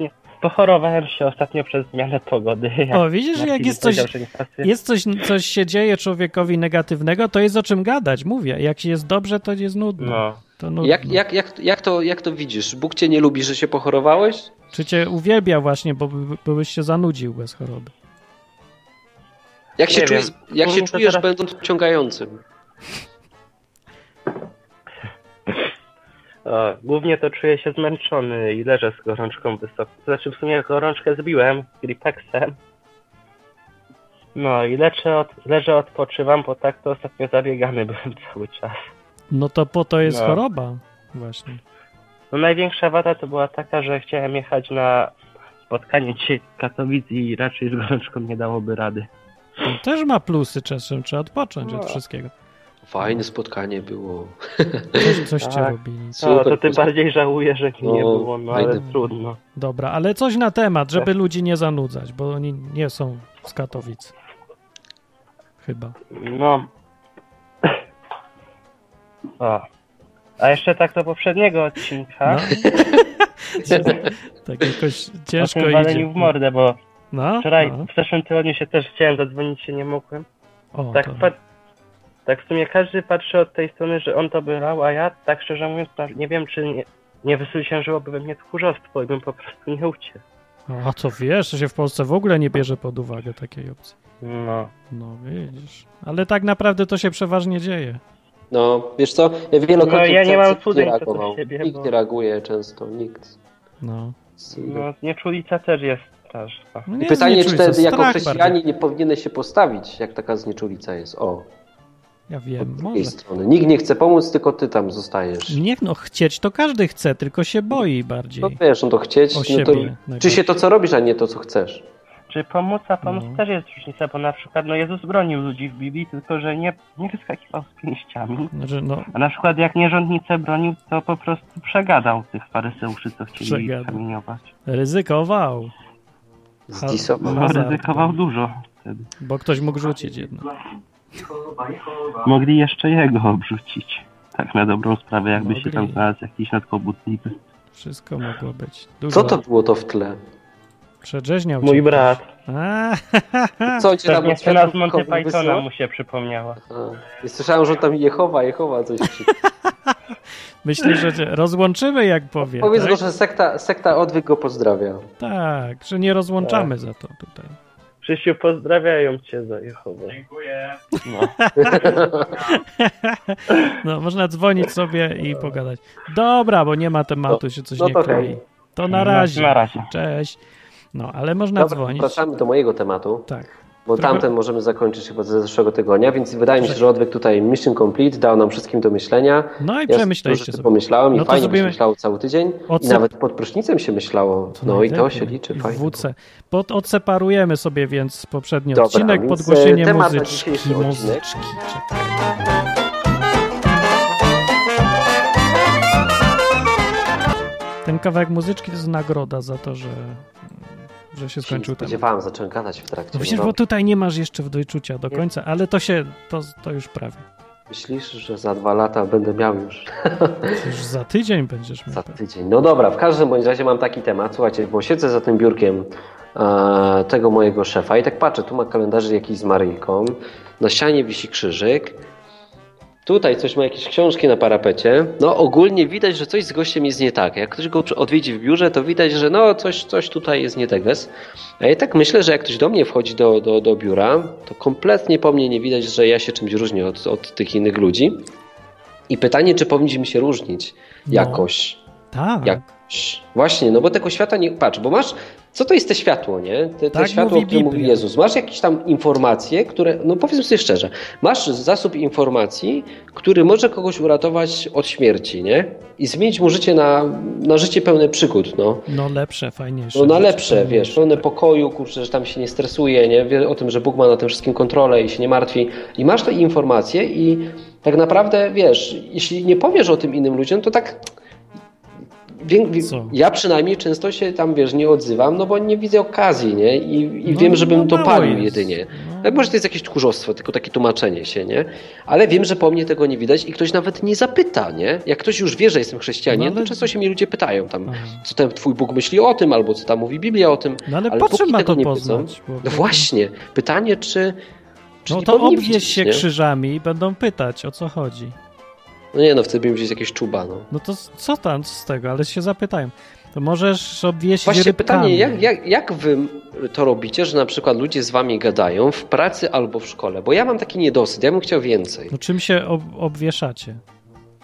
Speaker 4: Nie, Pochorowałem się ostatnio przez zmianę pogody.
Speaker 2: O, widzisz, jak
Speaker 4: Marcin
Speaker 2: jest coś,
Speaker 4: powiedział, że nie pasuje.
Speaker 2: jest coś, coś się dzieje człowiekowi negatywnego, to jest o czym gadać, mówię. Jak się jest dobrze, to jest nudno.
Speaker 4: No.
Speaker 2: To nudno.
Speaker 1: Jak, jak, jak, jak, to, jak to widzisz? Bóg cię nie lubi, że się pochorowałeś?
Speaker 2: Czy cię uwielbia właśnie, bo, by- bo byś się zanudził bez choroby.
Speaker 1: Jak
Speaker 4: Nie
Speaker 1: się
Speaker 4: wiem.
Speaker 1: czujesz, jak się
Speaker 4: Kurde,
Speaker 1: czujesz
Speaker 4: teraz-
Speaker 1: będąc ciągającym?
Speaker 4: O, głównie to czuję się zmęczony i leżę z gorączką wysoko. Znaczy w sumie gorączkę zbiłem gripexem. No i leczę od, leżę, odpoczywam, bo tak to ostatnio zabiegany byłem cały czas.
Speaker 2: No to po to jest
Speaker 4: No.
Speaker 2: choroba właśnie.
Speaker 4: No największa wada to była taka, że chciałem jechać na spotkanie dzisiaj w Katowic i raczej z gorączką nie dałoby rady.
Speaker 2: To też ma plusy czasem, trzeba odpocząć
Speaker 1: No.
Speaker 2: od wszystkiego.
Speaker 1: Fajne spotkanie było.
Speaker 2: Coś, coś cię
Speaker 4: Tak.
Speaker 2: robili.
Speaker 4: No to tym
Speaker 1: poznanie.
Speaker 4: bardziej żałuję, że nie
Speaker 1: No,
Speaker 4: było, no ale
Speaker 1: fajne.
Speaker 4: trudno.
Speaker 2: Dobra, ale coś na temat,
Speaker 4: Tak.
Speaker 2: żeby ludzi nie zanudzać, bo oni nie są z Katowic. Chyba.
Speaker 4: No. O. A jeszcze tak do poprzedniego odcinka.
Speaker 2: No. tak jakoś ciężko
Speaker 4: o tym waleniu
Speaker 2: idzie.
Speaker 4: Znaczy, w mordę, bo
Speaker 2: No,
Speaker 4: wczoraj,
Speaker 2: no.
Speaker 4: w zeszłym tygodniu się też chciałem zadzwonić, się nie mogłem.
Speaker 2: O,
Speaker 4: Tak,
Speaker 2: to-
Speaker 4: pat- tak w sumie każdy patrzy od tej strony, że on to by lał, a ja tak szczerze mówiąc to nie wiem, czy nie, nie wysłyszężyłoby we mnie tchórzostwo i bym po prostu nie uciekł.
Speaker 2: A co wiesz, że się w Polsce w ogóle nie bierze pod uwagę takiej opcji.
Speaker 4: No.
Speaker 2: No widzisz. Ale tak naprawdę to się przeważnie dzieje.
Speaker 1: No, wiesz co, ja wielokrotnie
Speaker 4: No, ja nie
Speaker 1: nikt
Speaker 4: mam cudzej co do
Speaker 1: reagował.
Speaker 4: siebie,
Speaker 1: Nikt
Speaker 4: bo-
Speaker 1: nie reaguje często, nikt.
Speaker 2: No.
Speaker 4: no nieczulica też jest straszna.
Speaker 2: No
Speaker 1: I
Speaker 2: nie
Speaker 1: pytanie, czy
Speaker 2: znieczuj się,
Speaker 1: wtedy jako
Speaker 2: strach bardziej.
Speaker 1: chrześcijanie nie powinieneś się postawić, jak taka znieczulica jest. O,
Speaker 2: Ja
Speaker 1: od
Speaker 2: wiem,
Speaker 1: drugiej
Speaker 2: może.
Speaker 1: strony. Nikt nie chce pomóc, tylko ty tam zostajesz.
Speaker 2: Nie no, chcieć to każdy chce, tylko się boi bardziej.
Speaker 1: No wiesz, no to chcieć,
Speaker 2: O
Speaker 1: no to,
Speaker 2: siebie
Speaker 1: czy
Speaker 2: najbardziej.
Speaker 1: się to, co robisz, a nie to, co chcesz.
Speaker 4: Czy pomóc, a pomóc
Speaker 2: No.
Speaker 4: też jest różnica, bo na przykład no Jezus bronił ludzi w Biblii, tylko że nie, nie wyskakiwał z pięściami.
Speaker 2: Znaczy, no,
Speaker 4: A na przykład jak nierządnicę bronił, to po prostu przegadał tych faryzeuszy, co chcieli
Speaker 2: Przegadał.
Speaker 4: kamieniować.
Speaker 2: ryzykował,
Speaker 1: Zdisował.
Speaker 4: No,
Speaker 2: Hazard.
Speaker 4: ryzykował dużo wtedy.
Speaker 2: bo ktoś mógł rzucić jednak.
Speaker 4: Mogli jeszcze jego obrzucić. Tak na dobrą sprawę, jakby się tam
Speaker 2: Mogli.
Speaker 4: znalazł jakiś nadkobudliwy.
Speaker 2: Wszystko mogło być. Dużo
Speaker 1: Co to było to w tle?
Speaker 2: Przedrzeźniał
Speaker 4: Mój
Speaker 2: cię
Speaker 4: brat.
Speaker 2: ktoś. A, ha, ha, ha.
Speaker 1: Co on cię tam
Speaker 4: Pewnie
Speaker 1: od
Speaker 4: scena z
Speaker 1: światła
Speaker 4: Monty
Speaker 1: wysyła?
Speaker 4: Pythona mu się przypomniała.
Speaker 1: A, ja Słyszałem, że tam Jehowa, Jehowa coś krzyczy.
Speaker 2: Myślę, że cię rozłączymy, jak powie.
Speaker 1: Powiedz
Speaker 2: tak?
Speaker 1: go, że sekta, sekta Odwyk go pozdrawia.
Speaker 2: tak, że nie rozłączamy za to tutaj.
Speaker 4: Krzysiu, pozdrawiają cię za Jehowę.
Speaker 2: No, można dzwonić sobie i pogadać. Dobra, bo nie ma tematu, się coś
Speaker 1: No
Speaker 2: nie
Speaker 1: to
Speaker 2: klei.
Speaker 1: hej.
Speaker 2: To na razie.
Speaker 4: Na razie.
Speaker 2: Cześć. No, ale można
Speaker 1: Dobra,
Speaker 2: dzwonić.
Speaker 1: wracamy do mojego tematu.
Speaker 2: Tak.
Speaker 1: Bo
Speaker 2: Trochę-
Speaker 1: tamten możemy zakończyć chyba ze zeszłego tygodnia, więc wydaje mi się, że odwyk tutaj Mission Complete dał nam wszystkim do myślenia.
Speaker 2: No i
Speaker 1: Ja
Speaker 2: przemyśleliście
Speaker 1: dużo
Speaker 2: sobie.
Speaker 1: pomyślałem i
Speaker 2: No to
Speaker 1: fajnie
Speaker 2: zrobimy-
Speaker 1: się myślało cały tydzień. I
Speaker 2: Odse-
Speaker 1: nawet pod prysznicem się myślało.
Speaker 2: To
Speaker 1: no i to
Speaker 2: najlepiej.
Speaker 1: się liczy,
Speaker 2: I
Speaker 1: fajnie.
Speaker 2: WC. Pod, odseparujemy sobie więc poprzedni
Speaker 1: Dobra,
Speaker 2: odcinek,
Speaker 1: więc, e,
Speaker 2: podgłośnienie
Speaker 1: temat na
Speaker 2: muzyczki.
Speaker 1: dzisiejszy odcinek.
Speaker 2: Muzyczki. Czekaj. Ten kawałek muzyczki to jest nagroda za to, że, że się
Speaker 1: Się nie
Speaker 2: skończył ten.
Speaker 1: spodziewałem, zacząłem gadać w trakcie.
Speaker 2: No przecież,
Speaker 1: No
Speaker 2: bo
Speaker 1: dobra.
Speaker 2: tutaj nie masz jeszcze w dojczucia do
Speaker 1: Nie.
Speaker 2: końca, ale to się, to, to już prawie.
Speaker 1: Myślisz, że za dwa lata będę miał już
Speaker 2: To już za tydzień będziesz miał.
Speaker 1: za tydzień. No dobra, w każdym bądź razie mam taki temat. Słuchajcie, bo siedzę za tym biurkiem e, tego mojego szefa i tak patrzę, tu ma kalendarz jakiś z Maryjką, na ścianie wisi krzyżyk, tutaj coś ma jakieś książki na parapecie. No ogólnie widać, że coś z gościem jest nie tak. Jak ktoś go odwiedzi w biurze, to widać, że no coś, coś tutaj jest nie teges. A ja tak myślę, że jak ktoś do mnie wchodzi do, do, do biura, to kompletnie po mnie nie widać, że ja się czymś różnię od, od tych innych ludzi. I pytanie, czy powinniśmy się różnić
Speaker 2: No.
Speaker 1: jakoś.
Speaker 2: Tak.
Speaker 1: Jak- Właśnie, no bo tego świata nie. Patrz, bo masz. Co to jest te światło, nie? Te, te
Speaker 2: Tak
Speaker 1: światło,
Speaker 2: mówi
Speaker 1: o którym mówi
Speaker 2: Biblia.
Speaker 1: Jezus. Masz jakieś tam informacje, które. No powiedzmy sobie szczerze, masz zasób informacji, który może kogoś uratować od śmierci, nie? I zmienić mu życie na, na życie pełne przygód, no.
Speaker 2: No lepsze, fajniejsze.
Speaker 1: No na
Speaker 2: rzeczy,
Speaker 1: lepsze, wiesz, pełne pokoju, kurczę, że tam się nie stresuje, nie? Wie o tym, że Bóg ma na tym wszystkim kontrolę i się nie martwi. I masz te informacje i tak naprawdę, wiesz, jeśli nie powiesz o tym innym ludziom, to tak Wie, wie,
Speaker 2: Co?
Speaker 1: ja przynajmniej często się tam, wiesz, nie odzywam, no bo nie widzę okazji, nie? I, i
Speaker 2: No,
Speaker 1: wiem, żebym
Speaker 2: no,
Speaker 1: to
Speaker 2: mało
Speaker 1: palił
Speaker 2: jest.
Speaker 1: jedynie.
Speaker 2: No.
Speaker 1: No, może to jest jakieś tchórzostwo, tylko takie tłumaczenie się, nie? Ale wiem, że po mnie tego nie widać i ktoś nawet nie zapyta, nie? Jak ktoś już wie, że jestem chrześcijanin,
Speaker 2: No, ale-
Speaker 1: to często się mi ludzie pytają tam,
Speaker 2: Aha.
Speaker 1: co ten twój Bóg myśli o tym, albo co tam mówi Biblia o tym.
Speaker 2: No ale,
Speaker 1: Ale
Speaker 2: po
Speaker 1: póki
Speaker 2: czym ma
Speaker 1: tego
Speaker 2: to
Speaker 1: nie
Speaker 2: poznać? Bo-
Speaker 1: No właśnie, pytanie, czy... czy
Speaker 2: No
Speaker 1: nie
Speaker 2: to
Speaker 1: powinni
Speaker 2: obwieź
Speaker 1: widzieć,
Speaker 2: się
Speaker 1: nie?
Speaker 2: krzyżami i będą pytać, o co chodzi.
Speaker 1: No nie, no wtedy bym gdzieś jakieś czuba, no.
Speaker 2: No to z- co tam z tego, ale się zapytają. To możesz obwieść
Speaker 1: Właśnie
Speaker 2: rybkami.
Speaker 1: pytanie, jak, jak, jak wy to robicie, że na przykład ludzie z wami gadają w pracy albo w szkole? Bo ja mam taki niedosyt, ja bym chciał więcej.
Speaker 2: No czym się ob obwieszacie?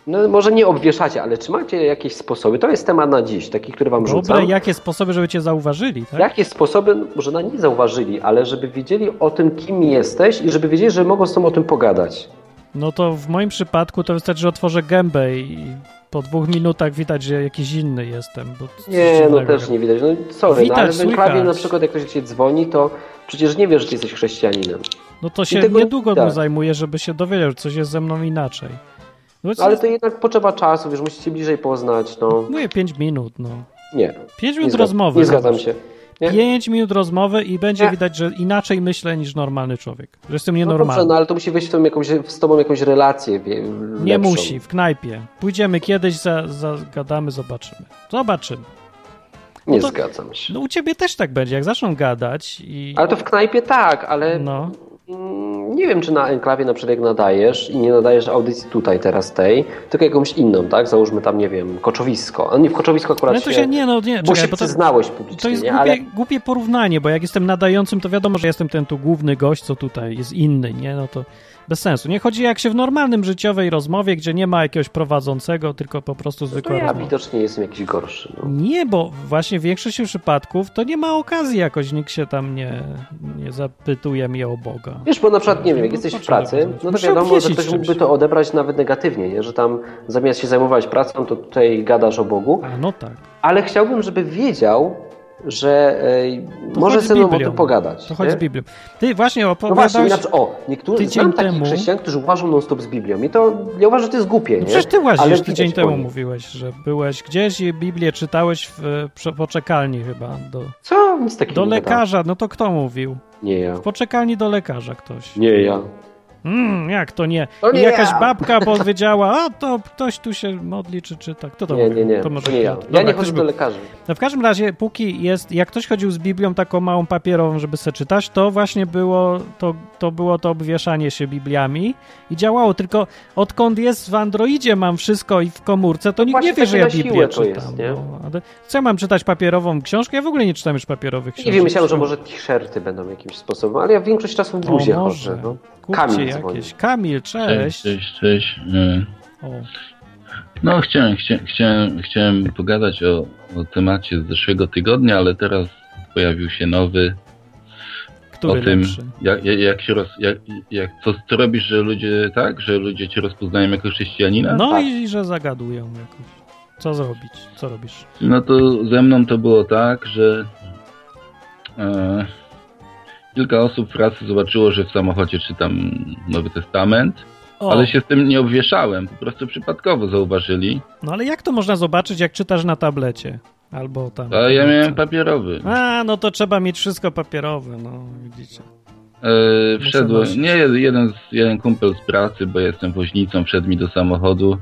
Speaker 1: No może nie obwieszacie, ale czy macie jakieś sposoby? To jest temat na dziś, taki, który wam rzucam.
Speaker 2: Dobre, jakie sposoby, żeby cię zauważyli, tak?
Speaker 1: Jakie sposoby, może na nie zauważyli, ale żeby wiedzieli o tym, kim jesteś i żeby wiedzieli, że mogą z tobą o tym pogadać.
Speaker 2: No to w moim przypadku to wystarczy, że otworzę gębę i po dwóch minutach widać, że jakiś inny jestem. Bo coś
Speaker 1: Nie, no
Speaker 2: dziwnego
Speaker 1: też
Speaker 2: robię.
Speaker 1: nie widać. No sorry,
Speaker 2: Widać,
Speaker 1: no, ale w
Speaker 2: słychać.
Speaker 1: prawie na przykład jak ktoś do ciebie dzwoni, to przecież nie wiesz, że ty jesteś chrześcijaninem.
Speaker 2: No to się
Speaker 1: tego nie
Speaker 2: niedługo
Speaker 1: widać.
Speaker 2: mu zajmuje, żeby się dowiedział, że coś jest ze mną inaczej. No,
Speaker 1: Ale to jednak potrzeba czasu, wiesz, musicie bliżej poznać, no.
Speaker 2: Mówię 5 minut, no.
Speaker 1: Nie,
Speaker 2: 5
Speaker 1: nie,
Speaker 2: minut
Speaker 1: zgadzam-
Speaker 2: rozmowy.
Speaker 1: nie zgadzam się. No Nie?
Speaker 2: 5 minut rozmowy i będzie
Speaker 1: Nie.
Speaker 2: widać, że inaczej myślę niż normalny człowiek. Że jestem
Speaker 1: No dobrze,
Speaker 2: nienormalny.
Speaker 1: no ale to musi wejść w tą jakąś, z tobą jakąś relację wie,
Speaker 2: nie
Speaker 1: lepszą.
Speaker 2: musi, w knajpie. Pójdziemy kiedyś, za- zagadamy, zobaczymy. Zobaczymy.
Speaker 1: Nie
Speaker 2: to-
Speaker 1: zgadzam się.
Speaker 2: No u ciebie też tak będzie, jak zaczną gadać i...
Speaker 1: Ale to w knajpie tak, ale
Speaker 2: No.
Speaker 1: mm, nie wiem, czy na enklawie na przykład jak nadajesz i nie nadajesz audycji tutaj teraz tej, tylko jakąś inną, tak? Załóżmy tam, nie wiem, koczowisko. A nie, w koczowisku akurat
Speaker 2: Ale to się nie, no nie,
Speaker 1: bo
Speaker 2: czekaj,
Speaker 1: się
Speaker 2: bo to,
Speaker 1: przyznałeś
Speaker 2: to
Speaker 1: publicznie,
Speaker 2: jest
Speaker 1: nie?
Speaker 2: głupie,
Speaker 1: ale
Speaker 2: głupie porównanie, bo jak jestem nadającym, to wiadomo, że jestem ten tu główny gość, co tutaj jest inny, nie? No to bez sensu. Nie chodzi jak się w normalnym życiowej rozmowie, gdzie nie ma jakiegoś prowadzącego, tylko po prostu
Speaker 1: No to
Speaker 2: zwykła
Speaker 1: ja
Speaker 2: rozmowa.
Speaker 1: widocznie jestem jakiś gorszy. No.
Speaker 2: Nie, bo właśnie w większości przypadków to nie ma okazji jakoś, nikt się tam nie, nie zapytuje mnie o Boga.
Speaker 1: Wiesz, bo na przykład, nie wiem, jak
Speaker 2: No,
Speaker 1: jesteś w
Speaker 2: potrzeba
Speaker 1: pracy,
Speaker 2: poznać.
Speaker 1: no to
Speaker 2: Muszę
Speaker 1: wiadomo, że
Speaker 2: obwiesić
Speaker 1: ktoś
Speaker 2: czymś.
Speaker 1: mógłby to odebrać nawet negatywnie, nie? że tam zamiast się zajmować pracą, to tutaj gadasz o Bogu,
Speaker 2: A no tak.
Speaker 1: ale chciałbym, żeby wiedział, że e,
Speaker 2: To
Speaker 1: może
Speaker 2: chodź z
Speaker 1: ze mną o
Speaker 2: Biblią.
Speaker 1: tym pogadać.
Speaker 2: To chodź z
Speaker 1: nie?
Speaker 2: Biblią. Ty właśnie
Speaker 1: No właśnie,
Speaker 2: opowiadałeś...
Speaker 1: inaczej, o, niektórzy,
Speaker 2: tydzień
Speaker 1: znam takich
Speaker 2: temu-
Speaker 1: chrześcijan, którzy uważą non-stop z Biblią i to, ja uważam, że to jest głupie,
Speaker 2: No
Speaker 1: nie?
Speaker 2: przecież ty
Speaker 1: Ale
Speaker 2: łazisz
Speaker 1: widać
Speaker 2: tydzień
Speaker 1: po
Speaker 2: temu
Speaker 1: nim.
Speaker 2: mówiłeś, że byłeś gdzieś i Biblię czytałeś w e, prze- poczekalni chyba. Do,
Speaker 1: Co? Nic takiego
Speaker 2: do
Speaker 1: nie tak. gadałem.
Speaker 2: lekarza, no to kto mówił?
Speaker 1: Nie ja.
Speaker 2: W poczekalni do lekarza ktoś.
Speaker 1: Nie ja.
Speaker 2: Mm, jak to nie?
Speaker 1: To
Speaker 2: I
Speaker 1: nie
Speaker 2: jakaś
Speaker 1: ja.
Speaker 2: babka powiedziała, a to ktoś tu się modli czy czyta. Kto to
Speaker 1: Nie,
Speaker 2: mówił?
Speaker 1: nie, nie.
Speaker 2: To może
Speaker 1: To nie ja.
Speaker 2: Piotr.
Speaker 1: Ja
Speaker 2: Dobra,
Speaker 1: nie
Speaker 2: ktoś
Speaker 1: chodzę do
Speaker 2: był.
Speaker 1: lekarzy.
Speaker 2: No w każdym razie, póki jest, jak ktoś chodził z Biblią taką małą papierową, żeby se czytać, to właśnie było to, to było to obwieszanie się Bibliami i działało. Tylko odkąd jest w Androidzie mam wszystko i w komórce, to nikt
Speaker 1: właśnie
Speaker 2: nie wie, że
Speaker 1: takie
Speaker 2: ja
Speaker 1: na siłę
Speaker 2: Biblię
Speaker 1: to
Speaker 2: czytam.
Speaker 1: jest, nie?
Speaker 2: no. Ale co ja mam czytać papierową książkę? Ja w ogóle nie czytam już papierowych
Speaker 1: Nie
Speaker 2: książek.
Speaker 1: wiem, myślałem, że może t-shirty będą jakimś sposobem, ale ja większość czasu w
Speaker 2: O,
Speaker 1: bluzie
Speaker 2: może.
Speaker 1: chodzę. No.
Speaker 2: Kupcie
Speaker 1: Kamil
Speaker 2: jakieś.
Speaker 1: dzwoni.
Speaker 2: Kamil, cześć.
Speaker 5: Cześć, cześć. E,
Speaker 2: O,
Speaker 5: No, chciałem, chcia- chciałem, chciałem pogadać o, o temacie z zeszłego tygodnia, ale teraz pojawił się nowy
Speaker 2: który
Speaker 5: o tym,
Speaker 2: lepszy?
Speaker 5: jak, jak, jak się roz, jak, jak, co, co robisz, że ludzie tak, że ludzie cię rozpoznają jako chrześcijanina?
Speaker 2: No
Speaker 1: tak.
Speaker 2: i że zagadują jakoś. Co zrobić? Co robisz?
Speaker 5: No to ze mną to było tak, że e, kilka osób w pracy zobaczyło, że w samochodzie czytam Nowy Testament,
Speaker 2: O,
Speaker 5: ale się z tym nie obwieszałem, po prostu przypadkowo zauważyli.
Speaker 2: No ale jak to można zobaczyć, jak czytasz na tablecie? Albo tam.
Speaker 5: A E, ja miałem papierowy.
Speaker 2: A, no to trzeba mieć wszystko papierowe, no widzicie.
Speaker 5: E,
Speaker 2: Muszę
Speaker 5: wszedłem,
Speaker 2: nosić.
Speaker 5: nie, jeden, z, jeden kumpel z pracy, bo jestem woźnicą, wszedł mi do samochodu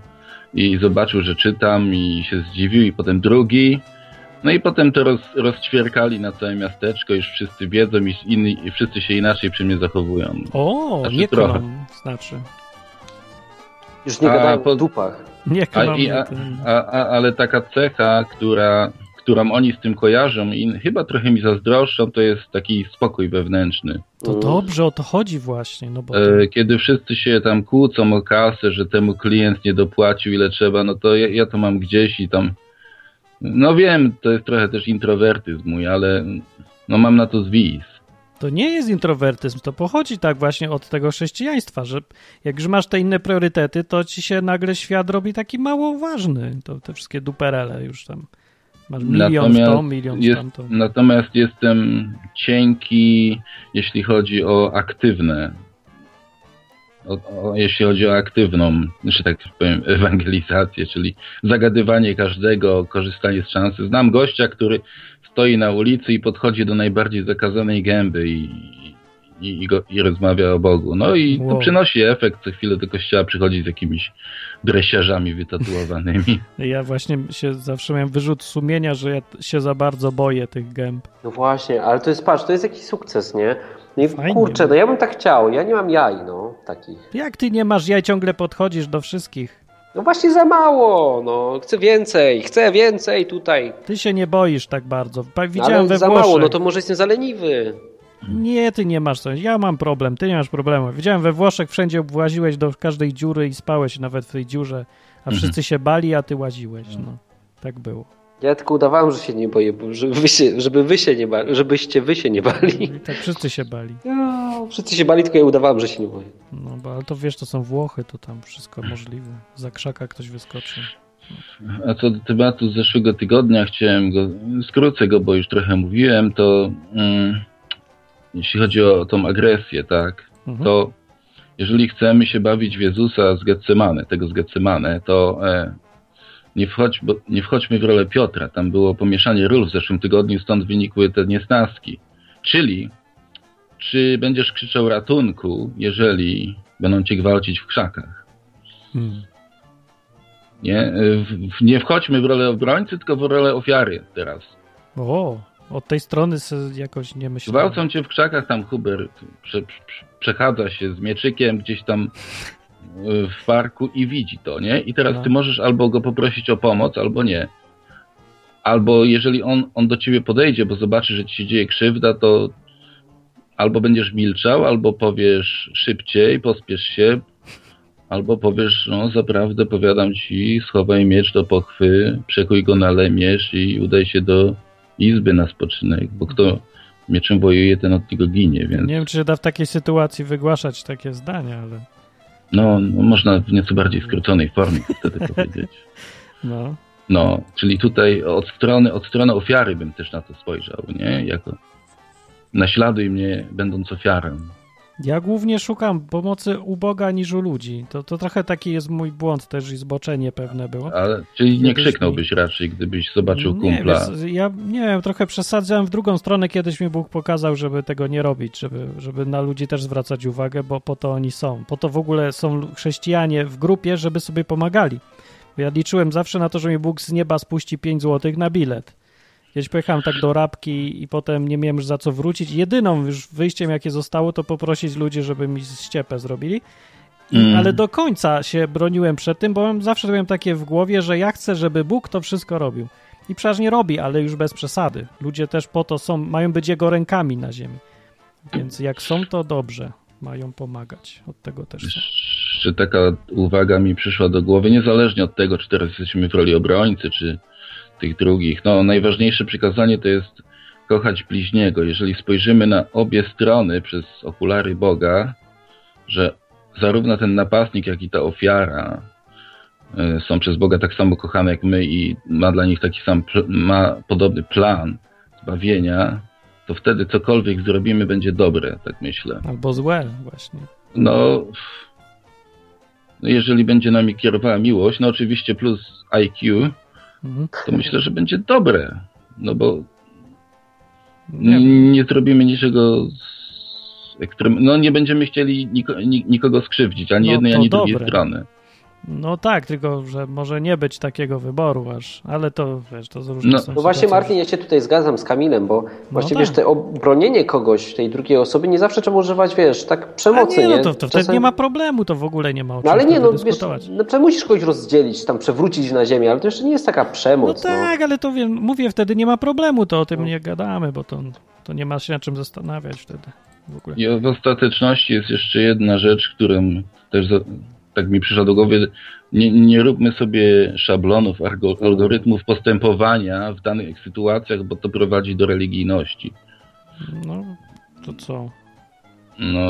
Speaker 5: i zobaczył, że czytam i się zdziwił i potem drugi. No i potem to roz, rozćwierkali na całe miasteczko, już wszyscy wiedzą i, inni, i wszyscy się inaczej przy mnie zachowują.
Speaker 2: O,
Speaker 5: Znaczy
Speaker 2: nie
Speaker 5: trochę.
Speaker 2: kłam, znaczy.
Speaker 1: Już nie
Speaker 5: A,
Speaker 1: gadają
Speaker 5: po-
Speaker 1: o dupach.
Speaker 2: Nie
Speaker 5: A,
Speaker 2: kłam.
Speaker 5: i,
Speaker 2: nie
Speaker 5: a,
Speaker 2: ten.
Speaker 5: a, a, ale taka cecha, która, którą oni z tym kojarzą i chyba trochę mi zazdroszczą, to jest taki spokój wewnętrzny.
Speaker 2: To
Speaker 1: Mm.
Speaker 2: dobrze, o to chodzi właśnie, no bo...
Speaker 5: E, kiedy wszyscy się tam kłócą o kasę, że temu klient nie dopłacił ile trzeba, no to ja, ja to mam gdzieś i tam. No wiem, to jest trochę też introwertyzm mój, ale no mam na to zwis.
Speaker 2: To nie jest introwertyzm, to pochodzi tak właśnie od tego chrześcijaństwa, że jak już masz te inne priorytety, to ci się nagle świat robi taki mało ważny. To te wszystkie duperele już tam. Masz milion w tą, milion w
Speaker 5: jest,
Speaker 2: tamtą.
Speaker 5: natomiast jestem cienki, jeśli chodzi o aktywne o, o, jeśli chodzi o aktywną, znaczy tak powiem, ewangelizację, czyli zagadywanie każdego, korzystanie z szansy. Znam gościa, który stoi na ulicy i podchodzi do najbardziej zakazanej gęby i, i, i, go, i rozmawia o Bogu. No i to
Speaker 2: Wow.
Speaker 5: przynosi efekt. Co chwilę do kościoła przychodzi z jakimiś dresiarzami wytatuowanymi.
Speaker 2: Ja właśnie się zawsze miałem wyrzut sumienia, że ja t- się za bardzo boję tych gęb.
Speaker 1: No właśnie, ale to jest, patrz, to jest jakiś sukces, nie? No i
Speaker 2: Fajnie.
Speaker 1: kurczę, no ja bym tak chciał, ja nie mam jaj, no, takich.
Speaker 2: Jak ty nie masz jaj, ciągle podchodzisz do wszystkich.
Speaker 1: No właśnie za mało, no, chcę więcej, chcę więcej tutaj.
Speaker 2: Ty się nie boisz tak bardzo. Pa-
Speaker 1: No,
Speaker 2: Widziałem
Speaker 1: ale
Speaker 2: we
Speaker 1: za
Speaker 2: Włoszech.
Speaker 1: mało, no to może jestem za leniwy.
Speaker 2: Nie, ty nie masz co. Ja mam problem, ty nie masz problemu. Widziałem we Włoszech, wszędzie właziłeś do każdej dziury i spałeś nawet w tej dziurze, a
Speaker 5: Mhm.
Speaker 2: wszyscy się bali, a ty łaziłeś.
Speaker 1: Mhm.
Speaker 2: No, tak było.
Speaker 1: Ja tylko udawałem, że się nie boję, bo żeby wy się, żeby wy się nie bali, żebyście wy się nie bali.
Speaker 2: I tak wszyscy się bali.
Speaker 1: No, wszyscy się bali, tylko ja udawałem, że się nie boję.
Speaker 2: No, bo, ale to wiesz, to są Włochy, to tam wszystko możliwe. Za krzaka ktoś wyskoczy.
Speaker 5: A co do tematu z zeszłego tygodnia, chciałem go, skrócę go, bo już trochę mówiłem, to mm, jeśli chodzi o tą agresję, tak,
Speaker 2: Mhm.
Speaker 5: to jeżeli chcemy się bawić w Jezusa z Getsemane, tego z Getsemane, to e, nie, wchodź, bo, nie wchodźmy w rolę Piotra. Tam było pomieszanie ról w zeszłym tygodniu, stąd wynikły te niesnaski. Czyli, czy będziesz krzyczał ratunku, jeżeli będą cię gwałcić w krzakach?
Speaker 2: Hmm.
Speaker 5: Nie, E, w, w, nie wchodźmy w rolę obrońcy, tylko w rolę ofiary teraz.
Speaker 2: O, od tej strony se jakoś nie myślałem.
Speaker 5: Gwałcą cię w krzakach, tam Hubert prze, prze, przechadza się z mieczykiem gdzieś tam y, w parku i widzi to, nie? I teraz
Speaker 2: No.
Speaker 5: ty możesz albo go poprosić o pomoc, albo nie. Albo jeżeli on, on do ciebie podejdzie, bo zobaczy, że ci się dzieje krzywda, to albo będziesz milczał, albo powiesz szybciej, pospiesz się, albo powiesz, no zaprawdę powiadam ci, schowaj miecz do pochwy, przekuj go na lemierz i udaj się do izby na spoczynek, bo kto mieczem wojuje, ten od tego ginie, więc
Speaker 2: Nie wiem, czy się da w takiej sytuacji wygłaszać takie zdania, ale
Speaker 5: no, no można w nieco bardziej skróconej formie wtedy powiedzieć.
Speaker 2: no.
Speaker 5: No, czyli tutaj od strony, od strony ofiary bym też na to spojrzał, nie? Jako naśladuj mnie będąc ofiarą.
Speaker 2: Ja głównie szukam pomocy u Boga niż u ludzi. To, to trochę taki jest mój błąd też i zboczenie pewne było.
Speaker 5: Ale, czyli nie
Speaker 2: Gdybyś
Speaker 5: krzyknąłbyś raczej, gdybyś zobaczył kumpla.
Speaker 2: No. Nie, wiesz, ja nie wiem, trochę przesadzałem w drugą stronę. Kiedyś mi Bóg pokazał, żeby tego nie robić, żeby, żeby na ludzi też zwracać uwagę, bo po to oni są. Po to w ogóle są lu- chrześcijanie w grupie, żeby sobie pomagali. Ja liczyłem zawsze na to, że mi Bóg z nieba spuści 5 złotych na bilet. Kiedyś pojechałem tak do Rabki i potem nie miałem już za co wrócić. Jedyną już wyjściem, jakie zostało, to poprosić ludzi, żeby mi ściepę zrobili. I,
Speaker 5: Mm.
Speaker 2: Ale do końca się broniłem przed tym, bo mam- zawsze miałem takie w głowie, że ja chcę, żeby Bóg to wszystko robił. I przecież nie robi, ale już bez przesady. Ludzie też po to są, mają być jego rękami na ziemi. Więc jak są, to dobrze. Mają pomagać. Od tego też są.
Speaker 5: Jeszcze taka uwaga mi przyszła do głowy, niezależnie od tego, czy teraz jesteśmy w roli obrońcy, czy tych drugich. No, najważniejsze przykazanie to jest kochać bliźniego. Jeżeli spojrzymy na obie strony przez okulary Boga, że zarówno ten napastnik, jak i ta ofiara y, są przez Boga tak samo kochane jak my i ma dla nich taki sam, pl- ma podobny plan zbawienia, to wtedy cokolwiek zrobimy będzie dobre, tak myślę.
Speaker 2: Albo złe właśnie.
Speaker 5: No, no jeżeli będzie nami kierowała miłość, no oczywiście plus IQ,
Speaker 2: Mhm.
Speaker 5: to myślę, że będzie dobre. No bo
Speaker 2: Tak. Nie,
Speaker 5: nie, nie zrobimy niczego z ekstrem... No nie będziemy chcieli niko, ni- nikogo skrzywdzić, ani
Speaker 2: No
Speaker 5: jednej,
Speaker 2: to
Speaker 5: ani drugiej
Speaker 2: dobre.
Speaker 5: strony.
Speaker 2: No tak, tylko że może nie być takiego wyboru aż, ale to wiesz, to z
Speaker 5: No.
Speaker 2: różnych są
Speaker 1: No właśnie,
Speaker 2: sytuacje.
Speaker 1: Martin, ja się tutaj zgadzam z Kamilem, bo właśnie,
Speaker 2: tak.
Speaker 1: wiesz, te obronienie kogoś, tej drugiej osoby, nie zawsze trzeba używać, wiesz, tak
Speaker 2: A
Speaker 1: przemocy,
Speaker 2: nie, no to, to wtedy
Speaker 1: Czasem-
Speaker 2: nie ma problemu, to w ogóle nie ma o czym
Speaker 1: No ale nie,
Speaker 2: wtedy
Speaker 1: no wiesz,
Speaker 2: dyskutować.
Speaker 1: no, przecież musisz kogoś rozdzielić, tam przewrócić na ziemię, ale to jeszcze nie jest taka
Speaker 2: no
Speaker 1: przemoc.
Speaker 2: tak, ale to wiem, mówię wtedy nie ma problemu, to o tym
Speaker 1: No.
Speaker 2: nie gadamy, bo to, to nie ma się na czym zastanawiać wtedy w ogóle.
Speaker 5: I w ostateczności jest jeszcze jedna rzecz, którą też za, tak mi przyszła do głowy. Nie, nie róbmy sobie szablonów, algo- algorytmów postępowania w danych sytuacjach, bo to prowadzi do religijności.
Speaker 2: No to co
Speaker 5: No,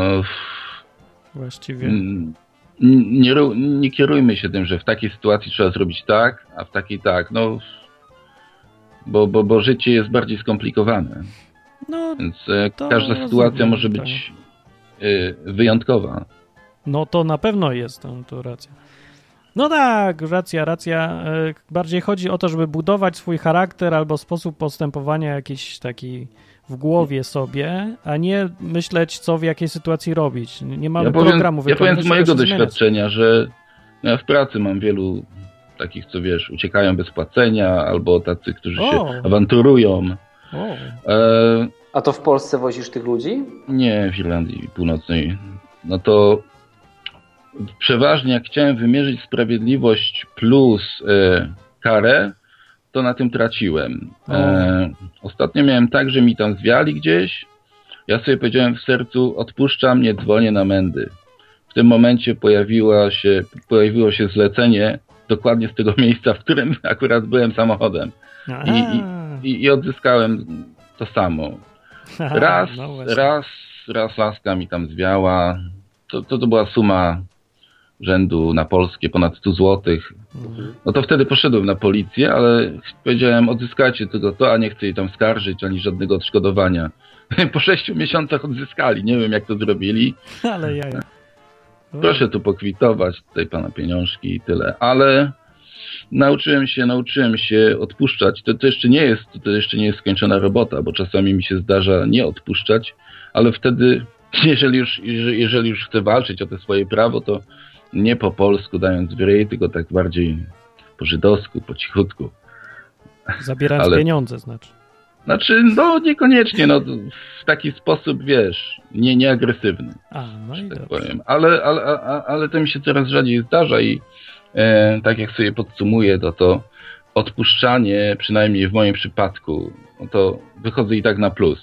Speaker 2: właściwie?
Speaker 5: Mm, n- nie, ru- nie kierujmy się tym, że w takiej sytuacji trzeba zrobić tak, a w takiej tak. No, bo, bo, bo życie jest bardziej skomplikowane,
Speaker 2: No
Speaker 5: więc e,
Speaker 2: To tak.
Speaker 5: każda sytuacja
Speaker 2: rozumiem,
Speaker 5: może być e, wyjątkowa.
Speaker 2: No to na pewno jest, no, to racja. No tak, racja, racja. E, Bardziej chodzi o to, żeby budować swój charakter albo sposób postępowania jakiś taki w głowie sobie, a nie myśleć, co w jakiej sytuacji robić. Nie mamy
Speaker 5: Ja powiem,
Speaker 2: programu
Speaker 5: ja powiem z
Speaker 2: wypełnionego,
Speaker 5: mojego
Speaker 2: żeby się zmieniać.
Speaker 5: doświadczenia, że no ja w pracy mam wielu takich, co wiesz, uciekają bez płacenia, albo tacy, którzy
Speaker 2: O.
Speaker 5: się awanturują.
Speaker 2: O,
Speaker 5: E,
Speaker 1: A to w Polsce wozisz tych ludzi? No
Speaker 5: nie, w Irlandii Północnej. No to przeważnie jak chciałem wymierzyć sprawiedliwość plus e, karę, to na tym traciłem. E, ostatnio miałem tak, że mi tam zwiali gdzieś. Ja sobie powiedziałem w sercu, odpuszczam, nie dzwonię na mędy. W tym momencie pojawiła się, pojawiło się zlecenie dokładnie z tego miejsca, w którym akurat byłem samochodem.
Speaker 2: A,
Speaker 5: I, i, i odzyskałem to samo.
Speaker 2: haha,
Speaker 5: Raz,
Speaker 2: no właśnie.
Speaker 5: raz, raz laska mi tam zwiała. To, to, to była suma rzędu na polskie ponad 100 złotych.
Speaker 2: Mhm.
Speaker 5: No to wtedy poszedłem na policję, ale ch- powiedziałem odzyskajcie tylko to, a nie chcę jej tam skarżyć ani żadnego odszkodowania. Po sześciu miesiącach odzyskali, nie wiem jak to zrobili.
Speaker 2: Ale ja.
Speaker 5: Proszę tu pokwitować tutaj pana pieniążki i tyle, ale nauczyłem się, nauczyłem się odpuszczać. To, to jeszcze nie jest, to jeszcze nie jest skończona robota, bo czasami mi się zdarza nie odpuszczać, ale wtedy, jeżeli już, jeżeli- jeżeli już chcę walczyć o te swoje prawo, to nie po polsku dając w ryj, tylko tak bardziej po żydowsku, po cichutku.
Speaker 2: Zabierając
Speaker 5: ale-
Speaker 2: pieniądze, znaczy.
Speaker 5: Znaczy, no niekoniecznie, no w taki sposób, wiesz, nie, nie agresywny.
Speaker 2: A, no i
Speaker 5: że tak
Speaker 2: dobrze.
Speaker 5: powiem. Ale, ale, a- a- ale to mi się coraz rzadziej zdarza i e, tak jak sobie podsumuję, to to odpuszczanie, przynajmniej w moim przypadku, no to wychodzę i tak na plus.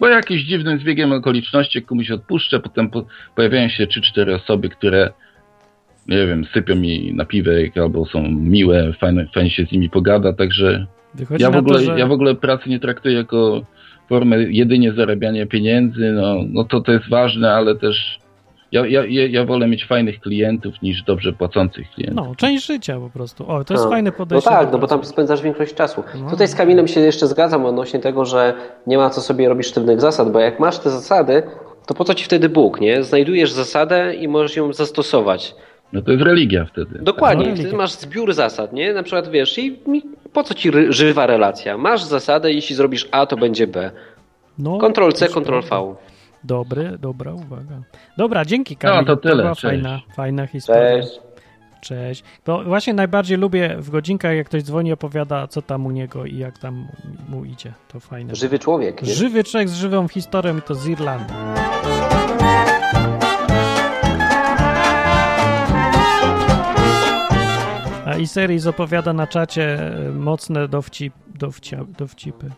Speaker 5: Bo jakimś dziwnym zbiegiem okoliczności komuś odpuszczę, potem po, pojawiają się 3-4 osoby, które nie wiem, sypią mi na piwek albo są miłe, fajnie, fajnie się z nimi pogada, także
Speaker 2: Wychodzi
Speaker 5: ja w,
Speaker 2: na
Speaker 5: ogóle,
Speaker 2: to, że...
Speaker 5: ja w ogóle pracy nie traktuję jako formę jedynie zarabiania pieniędzy, no, no to to jest ważne, ale też ja, ja, ja ja wolę mieć fajnych klientów niż dobrze płacących klientów.
Speaker 2: No, część życia po prostu. O, to jest
Speaker 1: No.
Speaker 2: fajne
Speaker 1: No
Speaker 2: podejście.
Speaker 1: tak,
Speaker 2: do
Speaker 1: no bo
Speaker 2: pracy.
Speaker 1: tam spędzasz większość czasu.
Speaker 2: No.
Speaker 1: Tutaj z Kamilem się jeszcze zgadzam odnośnie tego, że nie ma co sobie robić sztywnych zasad, bo jak masz te zasady, to po co ci wtedy Bóg, nie? Znajdujesz zasadę i możesz ją zastosować.
Speaker 5: No to jest religia wtedy.
Speaker 1: Dokładnie,
Speaker 2: No,
Speaker 1: ty
Speaker 2: religia.
Speaker 1: masz zbiór zasad, nie? Na przykład wiesz, i mi- po co ci ry- żywa relacja? Masz zasadę, jeśli zrobisz A, to będzie B.
Speaker 2: No,
Speaker 1: Ctrl C,
Speaker 2: też
Speaker 1: Ctrl
Speaker 2: prawda.
Speaker 1: V.
Speaker 2: Dobry, dobra uwaga. Dobra, dzięki Kamil.
Speaker 5: No, to tyle,
Speaker 2: była
Speaker 5: cześć.
Speaker 2: fajna, fajna historia.
Speaker 1: Cześć.
Speaker 2: Cześć. Bo właśnie najbardziej lubię w godzinkach, jak ktoś dzwoni, opowiada, co tam u niego i jak tam mu idzie. To fajne.
Speaker 1: Żywy człowiek. Nie?
Speaker 2: Żywy człowiek z żywą historią i to z Irlandii. A i series opowiada na czacie e, mocne dowcip, dowcia, dowcipy.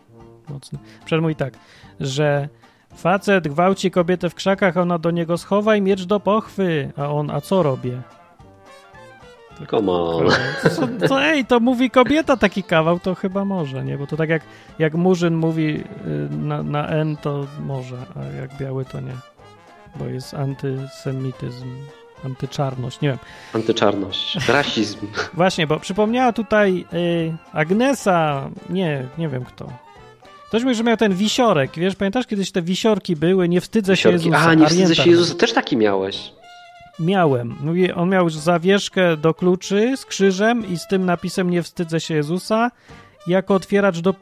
Speaker 2: Mocne. Przemój tak, że facet gwałci kobietę w krzakach, a ona do niego schowaj miecz do pochwy. A on, a co robię?
Speaker 1: Come on.
Speaker 2: Co, co, ej, to mówi kobieta taki kawał, to chyba może, nie? Bo to tak jak, jak Murzyn mówi y, na, na N, to może, a jak biały, to nie. Bo jest antysemityzm, antyczarność, nie wiem.
Speaker 1: Antyczarność. Rasizm.
Speaker 2: Właśnie, bo przypomniała tutaj y, Agnesa, nie, nie wiem kto. Ktoś mówi, że miał ten wisiorek, wiesz, pamiętasz kiedyś te wisiorki były, nie wstydzę się
Speaker 1: Siorki.
Speaker 2: Jezusa.
Speaker 1: A, nie wstydzę
Speaker 2: Arienta.
Speaker 1: się Jezusa. Też taki miałeś.
Speaker 2: Miałem. Mówi, on miał zawieszkę do kluczy z krzyżem i z tym napisem Nie wstydzę się Jezusa jako otwieracz do,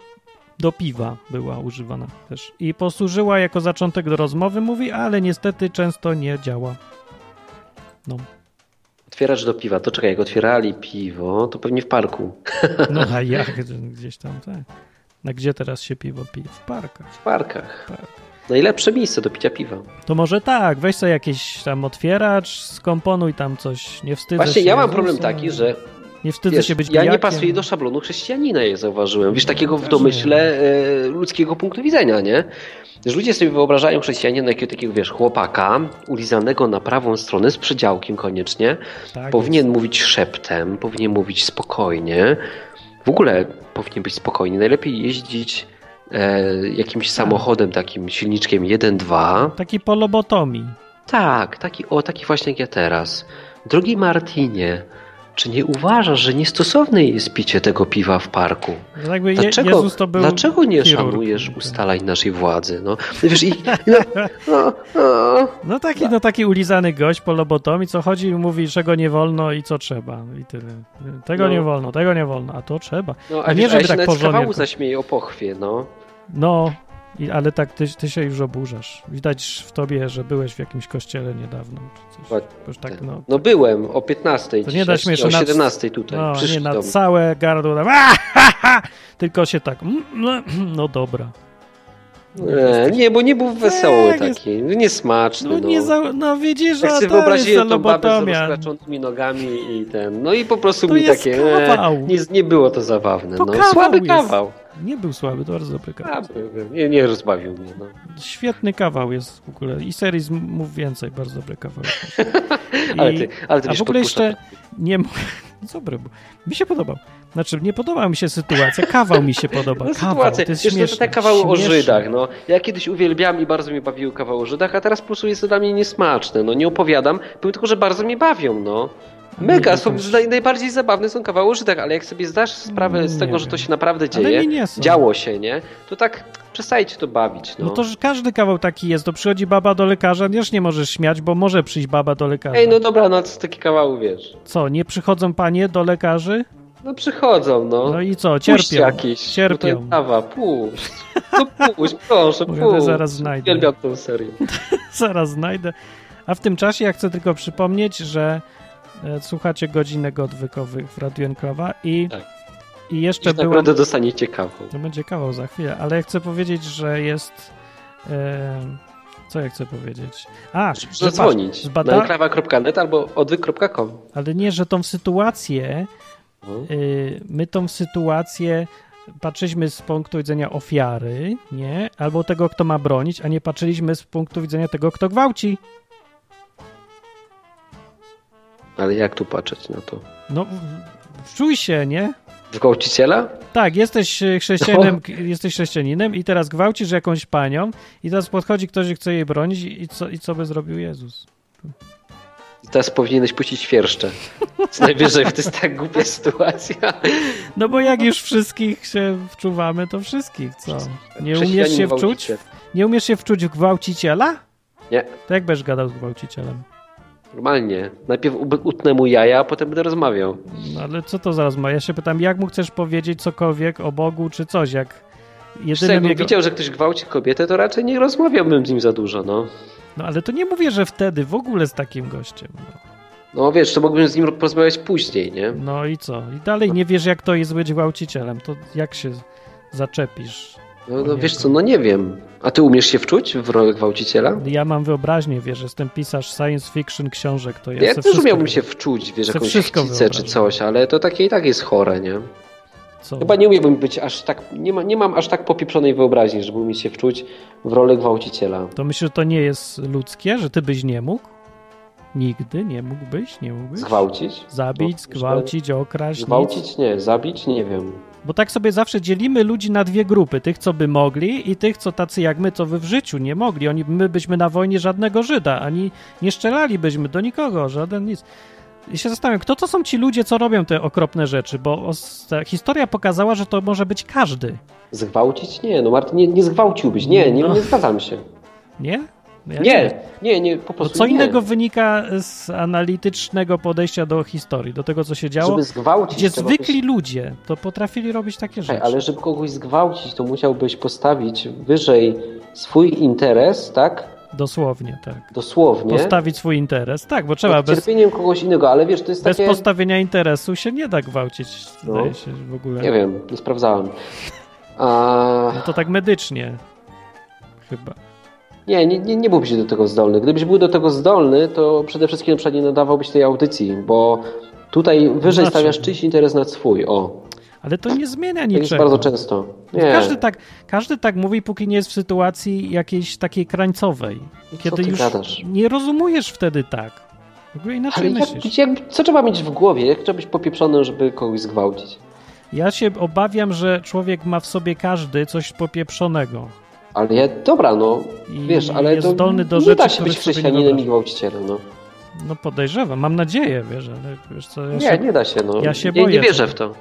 Speaker 2: do piwa była używana też. I posłużyła jako zaczątek do rozmowy, mówi, ale niestety często nie działa.
Speaker 1: Otwieracz do piwa. To czekaj, jak otwierali piwo, to pewnie w parku.
Speaker 2: No a jak gdzieś tam, tak. A gdzie teraz się piwo pije? W parkach.
Speaker 1: W parkach.
Speaker 2: Tak.
Speaker 1: Najlepsze miejsce do picia piwa.
Speaker 2: To może tak, weź sobie jakiś tam otwieracz, skomponuj tam coś, nie wstydzę
Speaker 1: Właśnie
Speaker 2: się
Speaker 1: ja mam
Speaker 2: Jezusa,
Speaker 1: problem taki, że
Speaker 2: Nie wstydzę
Speaker 1: wiesz,
Speaker 2: się być
Speaker 1: ja nie
Speaker 2: pijakiem.
Speaker 1: pasuję do szablonu chrześcijanina, je zauważyłem. Wiesz,
Speaker 2: No,
Speaker 1: takiego w
Speaker 2: też
Speaker 1: domyśle e, ludzkiego punktu widzenia, nie? Że ludzie sobie wyobrażają chrześcijanina jakiego takiego, wiesz, chłopaka ulizanego na prawą stronę z przydziałkiem koniecznie.
Speaker 2: Tak
Speaker 1: Powinien mówić szeptem, powinien mówić spokojnie. W ogóle powinien być spokojny. Najlepiej jeździć e,
Speaker 2: Tak.
Speaker 1: jakimś samochodem takim silniczkiem 1-2.
Speaker 2: Taki po lobotomii.
Speaker 1: Tak, taki, o taki właśnie jak ja teraz. Drogi Martinie, Czy nie uważasz, że niestosowne jest picie tego piwa w parku?
Speaker 2: Że Jakby Je-
Speaker 1: Dlaczego,
Speaker 2: Jezus to był
Speaker 1: dlaczego nie
Speaker 2: chirurg.
Speaker 1: szanujesz ustalań naszej władzy? No, wiesz, i, no, no, no.
Speaker 2: No taki, no taki ulizany gość po lobotomii, co chodzi i mówi, czego nie wolno i co trzeba. I tyle. Tego
Speaker 1: No.
Speaker 2: nie wolno, tego nie wolno, a to trzeba.
Speaker 1: no
Speaker 2: A
Speaker 1: a
Speaker 2: nie,
Speaker 1: wiesz, a
Speaker 2: żeby
Speaker 1: ja się
Speaker 2: tak
Speaker 1: nawet z
Speaker 2: porządnie
Speaker 1: kawału
Speaker 2: to-
Speaker 1: zaśmieję o pochwie, no.
Speaker 2: No, i, ale tak ty, ty się już oburzasz. Widać w tobie, że byłeś w jakimś kościele niedawno. Czy coś.
Speaker 1: Ładnie.
Speaker 2: Bo już tak, no,
Speaker 1: No byłem o 15
Speaker 2: To nie
Speaker 1: dzisiaj,
Speaker 2: da się
Speaker 1: o
Speaker 2: jeszcze na-
Speaker 1: 17 tutaj,
Speaker 2: no
Speaker 1: przyszli
Speaker 2: nie na
Speaker 1: do mnie.
Speaker 2: całe gardło. Tam, "A, ha, ha", tylko się tak, "Mm, no, no dobra.
Speaker 1: Nie, nie, bo nie był wesoły
Speaker 2: Tak, jest-
Speaker 1: taki, niesmaczny.
Speaker 2: No, nie za, no widzisz,
Speaker 1: Jak
Speaker 2: a
Speaker 1: sobie
Speaker 2: to jest
Speaker 1: wyobraziłem tą babę z
Speaker 2: lobotomia.
Speaker 1: rozkraczonymi nogami i ten. No i po prostu
Speaker 2: To
Speaker 1: mi
Speaker 2: jest
Speaker 1: takie.
Speaker 2: kawał.
Speaker 1: E, nie, nie było to zabawne.
Speaker 2: To
Speaker 1: no.
Speaker 2: kawał
Speaker 1: Słaby
Speaker 2: jest.
Speaker 1: kawał.
Speaker 2: Nie był słaby, to bardzo dobry kawał.
Speaker 1: Słaby, Nie, nie rozbawił mnie. No.
Speaker 2: Świetny kawał jest w ogóle. I serii z Mów Więcej, bardzo dobry kawał.
Speaker 1: Ale
Speaker 2: I-
Speaker 1: ty, ale ty
Speaker 2: A
Speaker 1: wiesz,
Speaker 2: w ogóle
Speaker 1: podpuszcza-
Speaker 2: jeszcze nie. m- Dobry był. Mi się podobał. Znaczy, nie podoba mi się sytuacja. Kawał mi się podoba.
Speaker 1: No,
Speaker 2: Kawał. To
Speaker 1: sytuacja.
Speaker 2: jest
Speaker 1: Wiesz, to,
Speaker 2: śmieszne.
Speaker 1: to te kawały o
Speaker 2: śmieszne.
Speaker 1: Żydach. No. Ja kiedyś uwielbiałem i bardzo mi bawiły kawały o Żydach, a teraz po prostu jest to dla mnie niesmaczne. No nie opowiadam, powiem tylko, że bardzo mnie bawią. No. Mega,
Speaker 2: Nie,
Speaker 1: są,
Speaker 2: też.
Speaker 1: naj, najbardziej zabawne są kawały o Żydach, ale jak sobie zdasz sprawę z
Speaker 2: Nie
Speaker 1: tego, że to
Speaker 2: wiem.
Speaker 1: się naprawdę
Speaker 2: Ale
Speaker 1: dzieje,
Speaker 2: mi nie są.
Speaker 1: działo się, nie? To tak przestajcie to bawić. No,
Speaker 2: No to że każdy kawał taki jest. To przychodzi baba do lekarza, też nie możesz śmiać, bo może przyjść baba do lekarza.
Speaker 1: Ej, no dobra, no co taki kawał, wiesz?
Speaker 2: Co, nie przychodzą panie do lekarzy?
Speaker 1: No przychodzą, no.
Speaker 2: No i co,
Speaker 1: Puść
Speaker 2: cierpią.
Speaker 1: jakiś.
Speaker 2: Cierpią.
Speaker 1: Tutaj kawa, puść. No puść, proszę,
Speaker 2: Mówię,
Speaker 1: puść.
Speaker 2: to zaraz znajdę.
Speaker 1: Uwielbiam tą serię.
Speaker 2: Zaraz znajdę. A w tym czasie ja chcę tylko przypomnieć, że e, słuchacie godzinek odwykowych w Radio Enklawa i,
Speaker 1: Tak.
Speaker 2: i jeszcze
Speaker 1: Dziś
Speaker 2: było...
Speaker 1: naprawdę dostaniecie kawę.
Speaker 2: To będzie kawał za chwilę, ale ja chcę powiedzieć, że jest... em, co ja chcę powiedzieć? A, że
Speaker 1: Można dzwonić
Speaker 2: patrz, zbada-
Speaker 1: na enklawa.net albo odwyk.com.
Speaker 2: ale nie, że tą sytuację,
Speaker 1: No.
Speaker 2: y, my tą sytuację patrzyliśmy z punktu widzenia ofiary, nie? Albo tego, kto ma bronić, a nie patrzyliśmy z punktu widzenia tego, kto gwałci.
Speaker 1: Ale jak tu patrzeć na to?
Speaker 2: No, w- wczuj się, nie?
Speaker 1: W gwałciciela?
Speaker 2: Tak, jesteś e, chrześcijanem, k- jesteś chrześcijaninem i teraz gwałcisz jakąś panią i teraz podchodzi ktoś i chce jej bronić i i co, i co by zrobił Jezus?
Speaker 1: Teraz powinieneś puścić wierszcze. Co najwyżej, to jest tak głupia sytuacja.
Speaker 2: No bo jak już wszystkich się wczuwamy, to wszystkich, co? Nie umiesz się
Speaker 1: Chrześcijanin
Speaker 2: wczuć?
Speaker 1: gwałciciel.
Speaker 2: Nie umiesz się wczuć w gwałciciela?
Speaker 1: Nie.
Speaker 2: To jak będziesz gadał z gwałcicielem?
Speaker 1: Normalnie. Najpierw ub- utnę mu jaja, a potem będę rozmawiał.
Speaker 2: No ale co to za rozmowa? Ja się pytam, jak mu chcesz powiedzieć cokolwiek o Bogu czy coś, jak
Speaker 1: Jedynym
Speaker 2: jedynym
Speaker 1: jakbym
Speaker 2: jego...
Speaker 1: widział, że ktoś gwałci kobietę, to raczej nie rozmawiałbym z nim za dużo, no.
Speaker 2: No ale to nie mówię, że wtedy w ogóle z takim gościem. No,
Speaker 1: No wiesz, to mógłbym z nim porozmawiać później, nie?
Speaker 2: no i co? I dalej nie wiesz, jak to jest być gwałcicielem. To jak się zaczepisz?
Speaker 1: No,
Speaker 2: O
Speaker 1: no
Speaker 2: nie,
Speaker 1: wiesz
Speaker 2: to-
Speaker 1: co, no nie wiem. A ty umiesz się wczuć w rolę gwałciciela?
Speaker 2: Ja mam wyobraźnię, wiesz, jestem pisarz science fiction książek, to ja,
Speaker 1: Ja,
Speaker 2: se
Speaker 1: też
Speaker 2: wszystko
Speaker 1: umiałbym
Speaker 2: wiem.
Speaker 1: się wczuć, wiesz,
Speaker 2: Se
Speaker 1: jakąś
Speaker 2: wszystko
Speaker 1: chcicę czy
Speaker 2: wyobrażam.
Speaker 1: coś, ale to takie i tak jest chore, nie?
Speaker 2: Co?
Speaker 1: Chyba nie umiałbym być aż tak, nie, ma, nie mam aż tak popieprzonej wyobraźni, żeby umieć się wczuć w rolę gwałciciela.
Speaker 2: To myślisz, że to nie jest ludzkie, że ty byś nie mógł? Nigdy nie mógłbyś, nie mógłbyś?
Speaker 1: Zgwałcić?
Speaker 2: Zabić,
Speaker 1: No,
Speaker 2: zgwałcić, okraść, nic.
Speaker 1: Gwałcić? Nie. Zabić? Nie wiem.
Speaker 2: Bo tak sobie zawsze dzielimy ludzi na dwie grupy. Tych, co by mogli i tych, co tacy jak my, co wy w życiu nie mogli. Oni, my byśmy na wojnie żadnego Żyda, ani nie strzelalibyśmy do nikogo, żaden nic. I się zastanawiam, kto to są ci ludzie, co robią te okropne rzeczy, bo os- ta historia pokazała, że to może być każdy,
Speaker 1: Zgwałcić? Nie, no Martin, nie, nie zgwałciłbyś. Nie, nie,
Speaker 2: No.
Speaker 1: nie zgadzam się.
Speaker 2: nie? Ja
Speaker 1: Nie, nie, nie, po
Speaker 2: Bo
Speaker 1: prostu
Speaker 2: co
Speaker 1: nie.
Speaker 2: innego wynika z analitycznego podejścia do historii, do tego, co się działo,
Speaker 1: Żeby zgwałcić
Speaker 2: gdzie
Speaker 1: trzeba
Speaker 2: zwykli
Speaker 1: Być...
Speaker 2: ludzie to potrafili robić takie
Speaker 1: Ej,
Speaker 2: rzeczy.
Speaker 1: ale żeby kogoś zgwałcić, to musiałbyś postawić wyżej swój interes, tak?
Speaker 2: Dosłownie, tak.
Speaker 1: Dosłownie.
Speaker 2: Postawić swój interes. Tak, bo trzeba
Speaker 1: Nad
Speaker 2: bez,
Speaker 1: cierpieniem kogoś innego, ale wiesz, to jest
Speaker 2: bez
Speaker 1: takie...
Speaker 2: postawienia interesu się nie da gwałcić,
Speaker 1: No.
Speaker 2: wydaje się w ogóle.
Speaker 1: Nie wiem, nie sprawdzałem. A...
Speaker 2: No to tak medycznie. Chyba.
Speaker 1: Nie, nie, nie, nie byłbyś do tego zdolny. Gdybyś był do tego zdolny, to przede wszystkim na przykład nie nadawałbyś tej audycji, bo tutaj wyżej
Speaker 2: Znaczy.
Speaker 1: stawiasz czyjś interes nad swój. O,
Speaker 2: Ale to nie zmienia
Speaker 1: tak jest
Speaker 2: niczego.
Speaker 1: bardzo często. Nie.
Speaker 2: Każdy, tak, każdy tak mówi, póki nie jest w sytuacji jakiejś takiej krańcowej. Kiedy
Speaker 1: ty
Speaker 2: już
Speaker 1: gadasz?
Speaker 2: nie rozumiesz wtedy tak. W ogóle
Speaker 1: Ale
Speaker 2: inaczej myślisz.
Speaker 1: jak, jak, co trzeba mieć w głowie? Jak trzeba być popieprzonym, żeby kogoś zgwałcić?
Speaker 2: Ja się obawiam, że człowiek ma w sobie każdy coś popieprzonego.
Speaker 1: Ale ja, dobra, no,
Speaker 2: I
Speaker 1: wiesz, ale
Speaker 2: jest
Speaker 1: to
Speaker 2: zdolny do
Speaker 1: nie
Speaker 2: rzeczy,
Speaker 1: da się
Speaker 2: których
Speaker 1: być
Speaker 2: sobie nie
Speaker 1: chrześcijaninem i
Speaker 2: wyobrażam.
Speaker 1: gwałcicielem, no.
Speaker 2: No podejrzewam, mam nadzieję, wiesz, ale wiesz co, ja
Speaker 1: Nie,
Speaker 2: się...
Speaker 1: nie da się. No.
Speaker 2: ja się
Speaker 1: nie,
Speaker 2: boję
Speaker 1: nie wierzę
Speaker 2: tego.
Speaker 1: w to.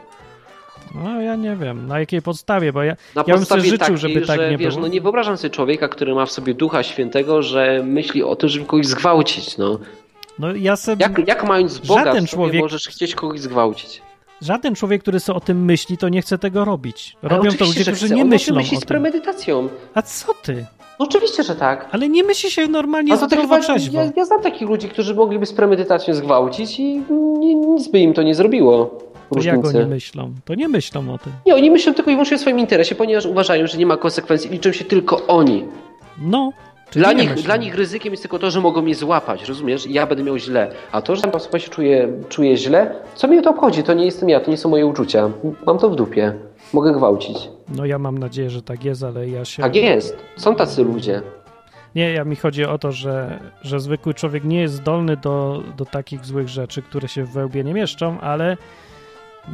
Speaker 2: No ja nie wiem, na jakiej podstawie, bo ja,
Speaker 1: Na
Speaker 2: ja bym sobie
Speaker 1: podstawie
Speaker 2: życzył,
Speaker 1: takiej,
Speaker 2: żeby tak
Speaker 1: że,
Speaker 2: nie
Speaker 1: wiesz,
Speaker 2: było.
Speaker 1: No nie wyobrażam sobie człowieka, który ma w sobie ducha świętego, że myśli o tym, żeby kogoś zgwałcić. No.
Speaker 2: No ja sobie...
Speaker 1: Jak, jak mając Boga
Speaker 2: Żaden
Speaker 1: w sobie
Speaker 2: człowiek-
Speaker 1: możesz chcieć kogoś zgwałcić?
Speaker 2: Żaden człowiek, który sobie o tym myśli, to nie chce tego robić.
Speaker 1: Ale
Speaker 2: Robią to
Speaker 1: oczywiście,
Speaker 2: ludzie,
Speaker 1: że
Speaker 2: którzy
Speaker 1: chce.
Speaker 2: nie
Speaker 1: On
Speaker 2: myślą
Speaker 1: myśli
Speaker 2: o
Speaker 1: z
Speaker 2: tym.
Speaker 1: premedytacją.
Speaker 2: A co ty?
Speaker 1: No oczywiście, że tak.
Speaker 2: Ale nie myśli się normalnie
Speaker 1: A to
Speaker 2: zdrowo
Speaker 1: chyba,
Speaker 2: trzeźwo.
Speaker 1: ja, ja znam takich ludzi, którzy mogliby z premedytacją zgwałcić i ni- nic by im to nie zrobiło.
Speaker 2: To Jak
Speaker 1: Różnicy.
Speaker 2: oni myślą? To nie myślą o tym.
Speaker 1: nie, oni myślą tylko i wyłącznie o swoim interesie, ponieważ uważają, że nie ma konsekwencji, liczą się tylko oni.
Speaker 2: No. Czyli
Speaker 1: Dla
Speaker 2: nie
Speaker 1: nich,
Speaker 2: myślą.
Speaker 1: dla nich ryzykiem jest tylko to, że mogą mnie złapać, rozumiesz? I ja będę miał źle. A to, że tam osoba się czuje, czuje źle, co mnie to obchodzi? To nie jestem ja, to nie są moje uczucia. Mam to w dupie. Mogę gwałcić.
Speaker 2: No ja mam nadzieję, że tak jest, ale ja się...
Speaker 1: Tak jest. Są tacy ludzie.
Speaker 2: Nie, ja mi chodzi o to, że, że zwykły człowiek nie jest zdolny do, do takich złych rzeczy, które się w wełbie nie mieszczą, ale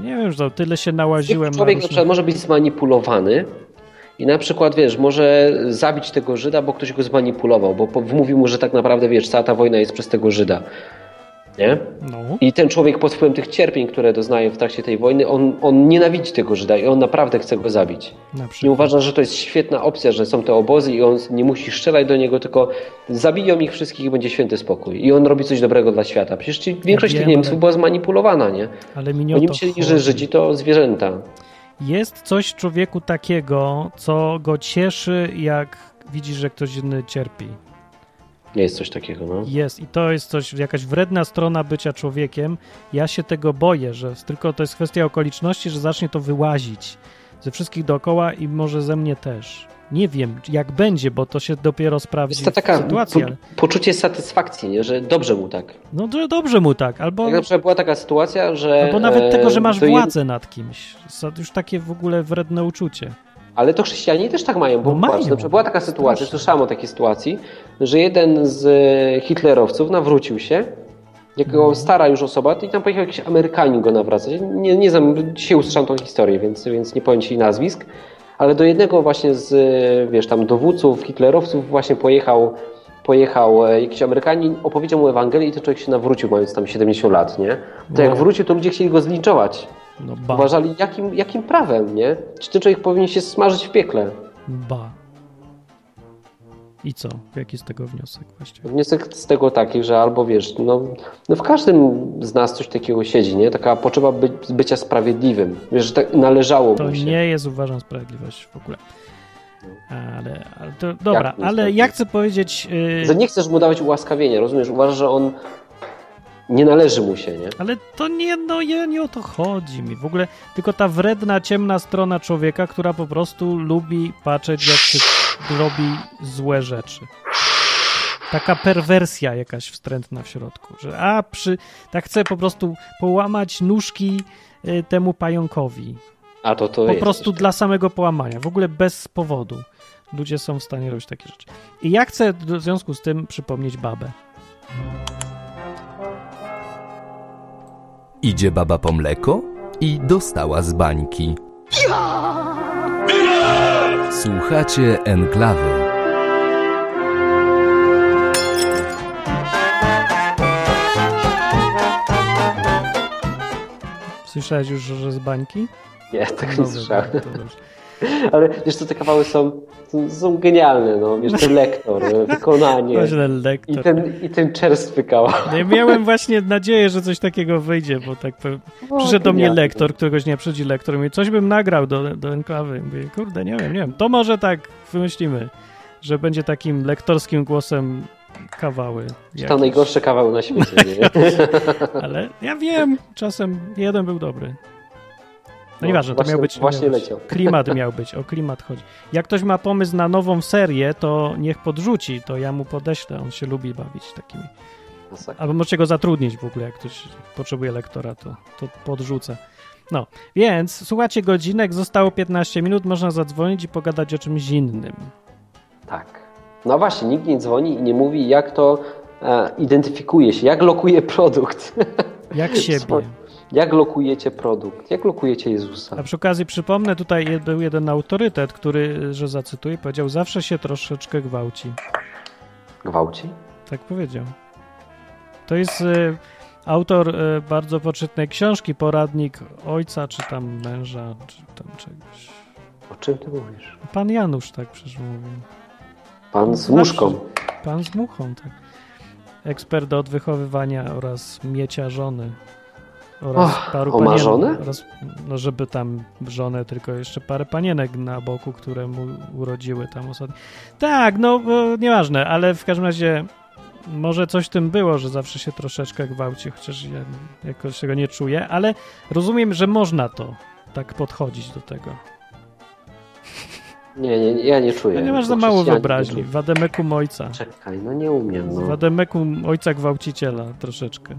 Speaker 2: nie wiem, że tyle się nałaziłem
Speaker 1: Człowiek
Speaker 2: na
Speaker 1: na
Speaker 2: różne...
Speaker 1: przykład może być zmanipulowany i na przykład, wiesz, może zabić tego Żyda, bo ktoś go zmanipulował, bo po- wmówił mu, że tak naprawdę, wiesz, cała ta wojna jest przez tego Żyda. Nie?
Speaker 2: No.
Speaker 1: I ten człowiek pod wpływem tych cierpień, które doznaje w trakcie tej wojny, on, on nienawidzi tego Żyda i on naprawdę chce go zabić.
Speaker 2: Na
Speaker 1: Nie
Speaker 2: przykład.
Speaker 1: uważa, że to jest świetna opcja, że są te obozy i on nie musi strzelać do niego, tylko zabiją ich wszystkich i będzie święty spokój. I on robi coś dobrego dla świata. Przecież ci, większość
Speaker 2: wiem,
Speaker 1: tych Niemców
Speaker 2: ale-
Speaker 1: była zmanipulowana, nie?
Speaker 2: Ale mi nie o
Speaker 1: Oni
Speaker 2: to
Speaker 1: myśleli,
Speaker 2: chodzi.
Speaker 1: że Żydzi to zwierzęta.
Speaker 2: Jest coś w człowieku takiego, co go cieszy, jak widzi, że ktoś inny cierpi.
Speaker 1: Nie jest coś takiego, no.
Speaker 2: Jest i to jest coś, jakaś wredna strona bycia człowiekiem. Ja się tego boję, że tylko to jest kwestia okoliczności, że zacznie to wyłazić ze wszystkich dookoła i może ze mnie też. Nie wiem, jak będzie, bo to się dopiero sprawdzi
Speaker 1: Jest to taka
Speaker 2: w sytuacji.
Speaker 1: po-
Speaker 2: Ale...
Speaker 1: poczucie satysfakcji, nie? że dobrze mu tak.
Speaker 2: No to dobrze mu tak, albo,
Speaker 1: Jak na przykład była taka sytuacja, że...
Speaker 2: albo nawet
Speaker 1: e,
Speaker 2: tego, że masz
Speaker 1: do jed-
Speaker 2: władzę nad kimś. To już takie w ogóle wredne uczucie.
Speaker 1: Ale to chrześcijanie też tak mają, bo
Speaker 2: No mają.
Speaker 1: mają. Na przykład była taka sytuacja,
Speaker 2: Strasznie.
Speaker 1: słyszałem o takiej sytuacji, że jeden z e, hitlerowców nawrócił się, jako stara już osoba, i tam pojechał jakiś Amerykanin go nawracać. Nie, nie znam, dzisiaj usłyszałem tą historię, więc, więc nie powiem ci nazwisk, ale do jednego właśnie z, e, wiesz, tam dowódców, hitlerowców właśnie pojechał, pojechał e, jakiś Amerykanin, opowiedział mu Ewangelię i ten człowiek się nawrócił, mając tam 70 lat, nie? To jak
Speaker 2: Wow.
Speaker 1: wrócił, to ludzie chcieli go zlinczować.
Speaker 2: No ba,
Speaker 1: Uważali, jakim, jakim prawem, nie? Czy ten człowiek powinien się smażyć w piekle?
Speaker 2: ba. I co? Jaki z tego wniosek właściwie?
Speaker 1: Wniosek z tego taki, że albo wiesz, no, no w każdym z nas coś takiego siedzi, nie? Taka potrzeba by, bycia sprawiedliwym. Wiesz, że tak należało
Speaker 2: To
Speaker 1: mu się.
Speaker 2: nie jest, uważam, sprawiedliwość w ogóle. Ale, ale to, dobra,
Speaker 1: No. Jak to
Speaker 2: ale ja
Speaker 1: jest sprawiedliwość?
Speaker 2: chcę powiedzieć. Yy,
Speaker 1: Że nie chcesz mu dawać ułaskawienia, rozumiesz? Uważasz, że on nie należy mu się, nie?
Speaker 2: ale to nie, no, nie, nie o to chodzi mi. W ogóle tylko ta wredna, ciemna strona człowieka, która po prostu lubi patrzeć, jak się robi złe rzeczy. Taka perwersja jakaś wstrętna w środku, że a przy. Tak chcę po prostu połamać nóżki y, temu pająkowi.
Speaker 1: A to to
Speaker 2: po
Speaker 1: jest.
Speaker 2: prostu dla samego połamania, w ogóle bez powodu. Ludzie są w stanie robić takie rzeczy. I ja chcę d- w związku z tym przypomnieć babę.
Speaker 6: Idzie baba po mleko i dostała z bańki. Słuchacie enklawy.
Speaker 2: Słyszałeś już, że z bańki?
Speaker 1: Nie, tak nie
Speaker 2: Dobra,
Speaker 1: słyszałem.
Speaker 2: to dobrze.
Speaker 1: Ale wiesz, co te kawały są, są, są genialne, no. Wiesz, ten lektor, wykonanie
Speaker 2: Źle
Speaker 1: i
Speaker 2: lektor.
Speaker 1: ten, i ten czerstwy kawał.
Speaker 2: No i miałem właśnie nadzieję, że coś takiego wyjdzie, bo tak powiem. Przyszedł do mnie
Speaker 1: genialne.
Speaker 2: lektor, któregoś dnia przychodzi lektor i mówi, coś bym nagrał do, do enklawy. Mówię, kurde, nie wiem, nie wiem. To może tak wymyślimy, że będzie takim lektorskim głosem kawały.
Speaker 1: To
Speaker 2: jakieś.
Speaker 1: najgorszy kawał na świecie, nie?
Speaker 2: Ale
Speaker 1: Tak.
Speaker 2: ja wiem, czasem jeden był dobry. No
Speaker 1: No,
Speaker 2: nieważne, to
Speaker 1: właśnie-
Speaker 2: miał być.
Speaker 1: właśnie
Speaker 2: miał być.
Speaker 1: leciał.
Speaker 2: Klimat miał być, o klimat chodzi. Jak ktoś ma pomysł na nową serię, to niech podrzuci, to ja mu podeślę. On się lubi bawić takimi.
Speaker 1: Masakra.
Speaker 2: Albo możecie go zatrudnić w ogóle, jak ktoś potrzebuje lektora, to, to podrzucę. No, więc słuchacie godzinek, zostało 15 minut, można zadzwonić i pogadać o czymś innym.
Speaker 1: Tak. No właśnie, nikt nie dzwoni i nie mówi, jak to e, identyfikuje się, jak lokuje produkt.
Speaker 2: Jak siebie.
Speaker 1: Słuchaj. jak lokujecie produkt, jak lokujecie Jezusa.
Speaker 2: A przy okazji przypomnę, tutaj je- był jeden autorytet, który, że zacytuję, powiedział: Zawsze się troszeczkę gwałci.
Speaker 1: Gwałci?
Speaker 2: Tak powiedział. To jest e, autor e, bardzo poczytnej książki, poradnik ojca, czy tam męża, czy tam czegoś.
Speaker 1: O czym ty mówisz?
Speaker 2: Pan Janusz tak przecież mówił.
Speaker 1: Pan z
Speaker 2: Znaczy-
Speaker 1: muszką.
Speaker 2: Pan z muchą, tak. Ekspert od wychowywania oraz miecia żony. Oraz
Speaker 1: Och,
Speaker 2: paru
Speaker 1: o, ma
Speaker 2: panienek.
Speaker 1: żonę?
Speaker 2: Oraz, no żeby tam żonę, tylko jeszcze parę panienek na boku, które mu urodziły tam ostatnio. Tak, no bo nieważne, ale w każdym razie może coś w tym było, że zawsze się troszeczkę gwałci, chociaż ja jakoś tego nie czuję, ale rozumiem, że można to tak podchodzić do tego.
Speaker 1: Nie, nie, ja nie czuję.
Speaker 2: No nie masz za
Speaker 1: Znaczy,
Speaker 2: mało
Speaker 1: ja nie
Speaker 2: wyobraźni.
Speaker 1: czuję.
Speaker 2: Wademeku ojca.
Speaker 1: Czekaj, no nie umiem.
Speaker 2: Z
Speaker 1: No.
Speaker 2: Wademeku ojca gwałciciela troszeczkę.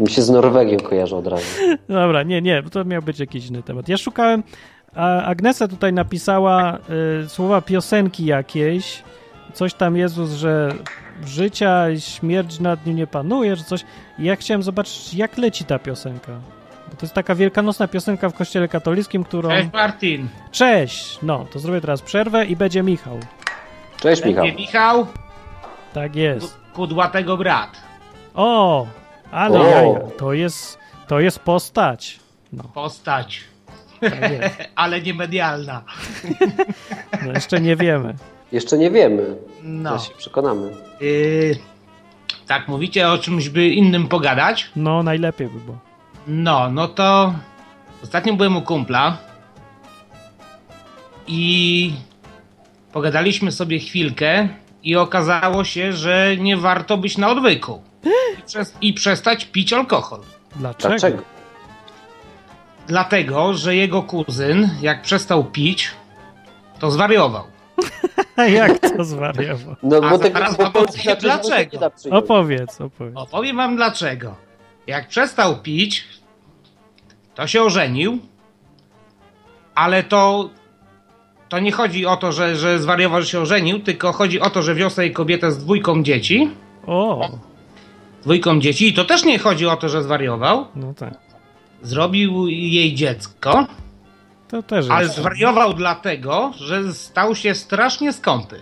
Speaker 1: Mi się z Norwegiem kojarzy od razu.
Speaker 2: Dobra, nie, nie, bo to miał być jakiś inny temat. Ja szukałem, a Agnesa tutaj napisała y, słowa piosenki jakiejś, coś tam Jezus, że życia i śmierć nad nim nie panuje, że coś. I ja chciałem zobaczyć, jak leci ta piosenka. Bo to jest taka wielkanocna piosenka w kościele katolickim, którą...
Speaker 7: Cześć Martin.
Speaker 2: Cześć! No, to zrobię teraz przerwę i będzie Michał.
Speaker 1: Cześć Michał.
Speaker 7: Będzie Michał,
Speaker 2: Tak jest.
Speaker 7: ku- kudłatego brat.
Speaker 2: O! Ale
Speaker 1: O!
Speaker 2: jaja, to jest, to jest postać. No,
Speaker 7: Postać,
Speaker 2: tak jest.
Speaker 7: ale nie medialna.
Speaker 2: No, jeszcze nie wiemy.
Speaker 1: Jeszcze nie wiemy. No.
Speaker 7: No.
Speaker 1: się przekonamy.
Speaker 7: Y, tak mówicie o czymś by innym pogadać?
Speaker 2: No, najlepiej by było.
Speaker 7: No, no to ostatnio byłem u kumpla i pogadaliśmy sobie chwilkę i okazało się, że nie warto być na odwyku i, przez, i przestać pić alkohol.
Speaker 2: Dlaczego?
Speaker 1: Dlaczego?
Speaker 7: Dlatego, że jego kuzyn, jak przestał pić, to zwariował.
Speaker 2: Jak to zwariował?
Speaker 1: No
Speaker 7: A
Speaker 1: bo tego
Speaker 7: zaraz wam
Speaker 1: bo
Speaker 7: powiem
Speaker 1: Polska
Speaker 7: dlaczego.
Speaker 1: przecież nie da przyjąć.
Speaker 2: Opowiedz, opowiedz.
Speaker 7: Opowiem wam dlaczego. Jak przestał pić, to się ożenił, ale to, to nie chodzi o to, że, że zwariował, że się ożenił, tylko chodzi o to, że wiosę jej kobietę z dwójką dzieci.
Speaker 2: O,
Speaker 7: Dwójką dzieci i to też nie chodzi o to, że zwariował.
Speaker 2: no tak.
Speaker 7: Zrobił jej dziecko,
Speaker 2: To też jest.
Speaker 7: ale zwariował dlatego, że stał się strasznie skąpy.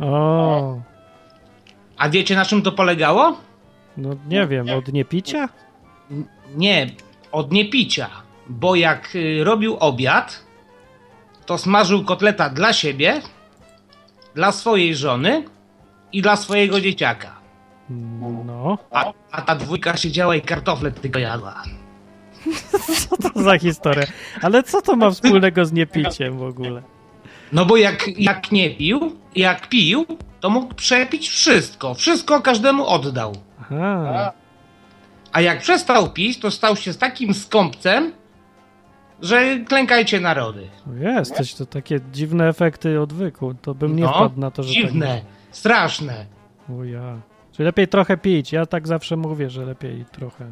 Speaker 2: O,
Speaker 7: A wiecie na czym to polegało?
Speaker 2: no nie wiem, od niepicia?
Speaker 7: N- Nie, od niepicia. Bo jak y, robił obiad, to smażył kotleta dla siebie, dla swojej żony i dla swojego dzieciaka.
Speaker 2: No,
Speaker 7: A, a ta dwójka siedziała i kartofle tylko jadła.
Speaker 2: co to za historia? Ale co to ma wspólnego z niepiciem w ogóle?
Speaker 7: No bo jak, jak nie pił, jak pił, to mógł przepić wszystko. Wszystko każdemu oddał.
Speaker 2: Aha,
Speaker 7: A jak przestał pić, to stał się z takim skąpcem, że klękajcie narody.
Speaker 2: jest, coś to takie dziwne efekty odwyku. To bym nie
Speaker 7: No,
Speaker 2: wpadł na to, że
Speaker 7: Dziwne, straszne.
Speaker 2: tak... O ja. Czyli lepiej trochę pić. Ja tak zawsze mówię, że lepiej trochę.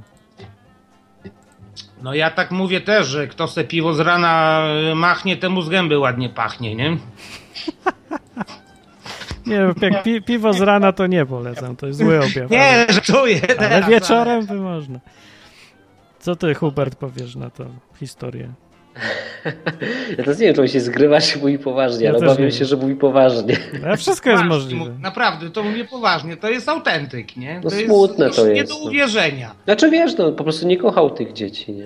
Speaker 7: No ja tak mówię też, że kto se piwo z rana y, machnie, temu z gęby ładnie pachnie, nie?
Speaker 2: Nie, jak pi- piwo z rana to nie polecam, to jest zły objaw. ale-
Speaker 7: Nie, żartuję
Speaker 2: Ale
Speaker 7: teraz,
Speaker 2: wieczorem by można. Co ty, Hubert, powiesz na tą historię?
Speaker 1: Ja teraz nie wiem, czy on się zgrywa, czy mówi poważnie,
Speaker 2: Ja
Speaker 1: ale
Speaker 2: też
Speaker 1: obawiam
Speaker 2: nie
Speaker 1: się,
Speaker 2: wiem.
Speaker 1: że mówi poważnie.
Speaker 2: A No, wszystko jest
Speaker 7: Poważnie
Speaker 2: możliwe.
Speaker 7: mówię, No Naprawdę, to mówię poważnie, to jest autentyk, nie?
Speaker 1: No
Speaker 7: to jest
Speaker 1: smutne
Speaker 7: już
Speaker 1: to
Speaker 7: Nie
Speaker 1: jest,
Speaker 7: do
Speaker 1: no.
Speaker 7: uwierzenia.
Speaker 1: Znaczy wiesz, no po prostu nie kochał tych dzieci, nie?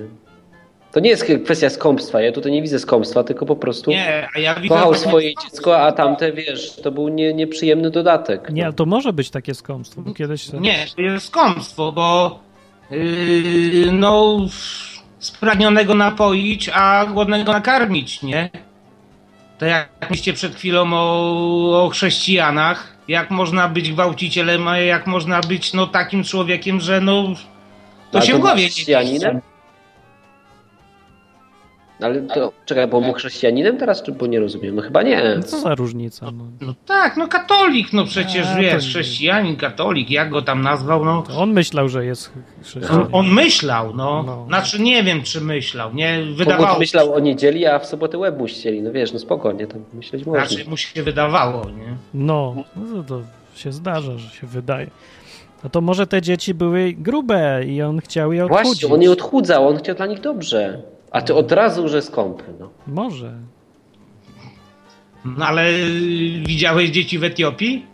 Speaker 1: To nie jest kwestia skąpstwa, ja tutaj nie widzę skąpstwa, tylko po prostu
Speaker 7: Nie, a ja widzę...
Speaker 1: kochał
Speaker 7: takie-
Speaker 1: swoje dziecko, a tamte, wiesz, to był nie, nieprzyjemny dodatek.
Speaker 2: Nie,
Speaker 1: no.
Speaker 2: ale to może być takie skąpstwo, bo kiedyś...
Speaker 7: Mm, Nie, to jest skąpstwo, bo yy, no spragnionego napoić, a głodnego nakarmić, nie? To jak mówiliście przed chwilą o, o chrześcijanach, jak można być gwałcicielem, a jak można być no takim człowiekiem, że no to
Speaker 1: A
Speaker 7: się
Speaker 1: to
Speaker 7: w
Speaker 1: był
Speaker 7: głowie nie
Speaker 1: chrześcijaninem? Ale to, czekaj, bo był chrześcijaninem teraz, czy bo nie rozumiem? No chyba nie.
Speaker 2: No co za różnica? No.
Speaker 7: No tak, no katolik, no przecież
Speaker 2: A, to
Speaker 7: wiesz,
Speaker 2: nie.
Speaker 7: chrześcijanin, katolik, jak go tam nazwał, no
Speaker 2: To on myślał, że jest
Speaker 7: on,
Speaker 2: chrześcijanin.
Speaker 7: on myślał, no.
Speaker 2: No.
Speaker 7: Znaczy nie wiem, czy myślał, nie?
Speaker 1: Kogut
Speaker 7: Wydawało
Speaker 1: myślał o niedzieli, a w sobotę łeb mu ścieli. No wiesz, no spokojnie, tam myśleć można.
Speaker 7: Raczej mu się wydawało, nie?
Speaker 2: No, no to, to się zdarza, że się wydaje. No to może te dzieci były grube i on chciał je odchudzić.
Speaker 1: Właśnie, on nie odchudzał, on chciał dla nich dobrze. A ty od razu, że skąpy, no.
Speaker 2: Może.
Speaker 7: No ale y, widziałeś dzieci w Etiopii?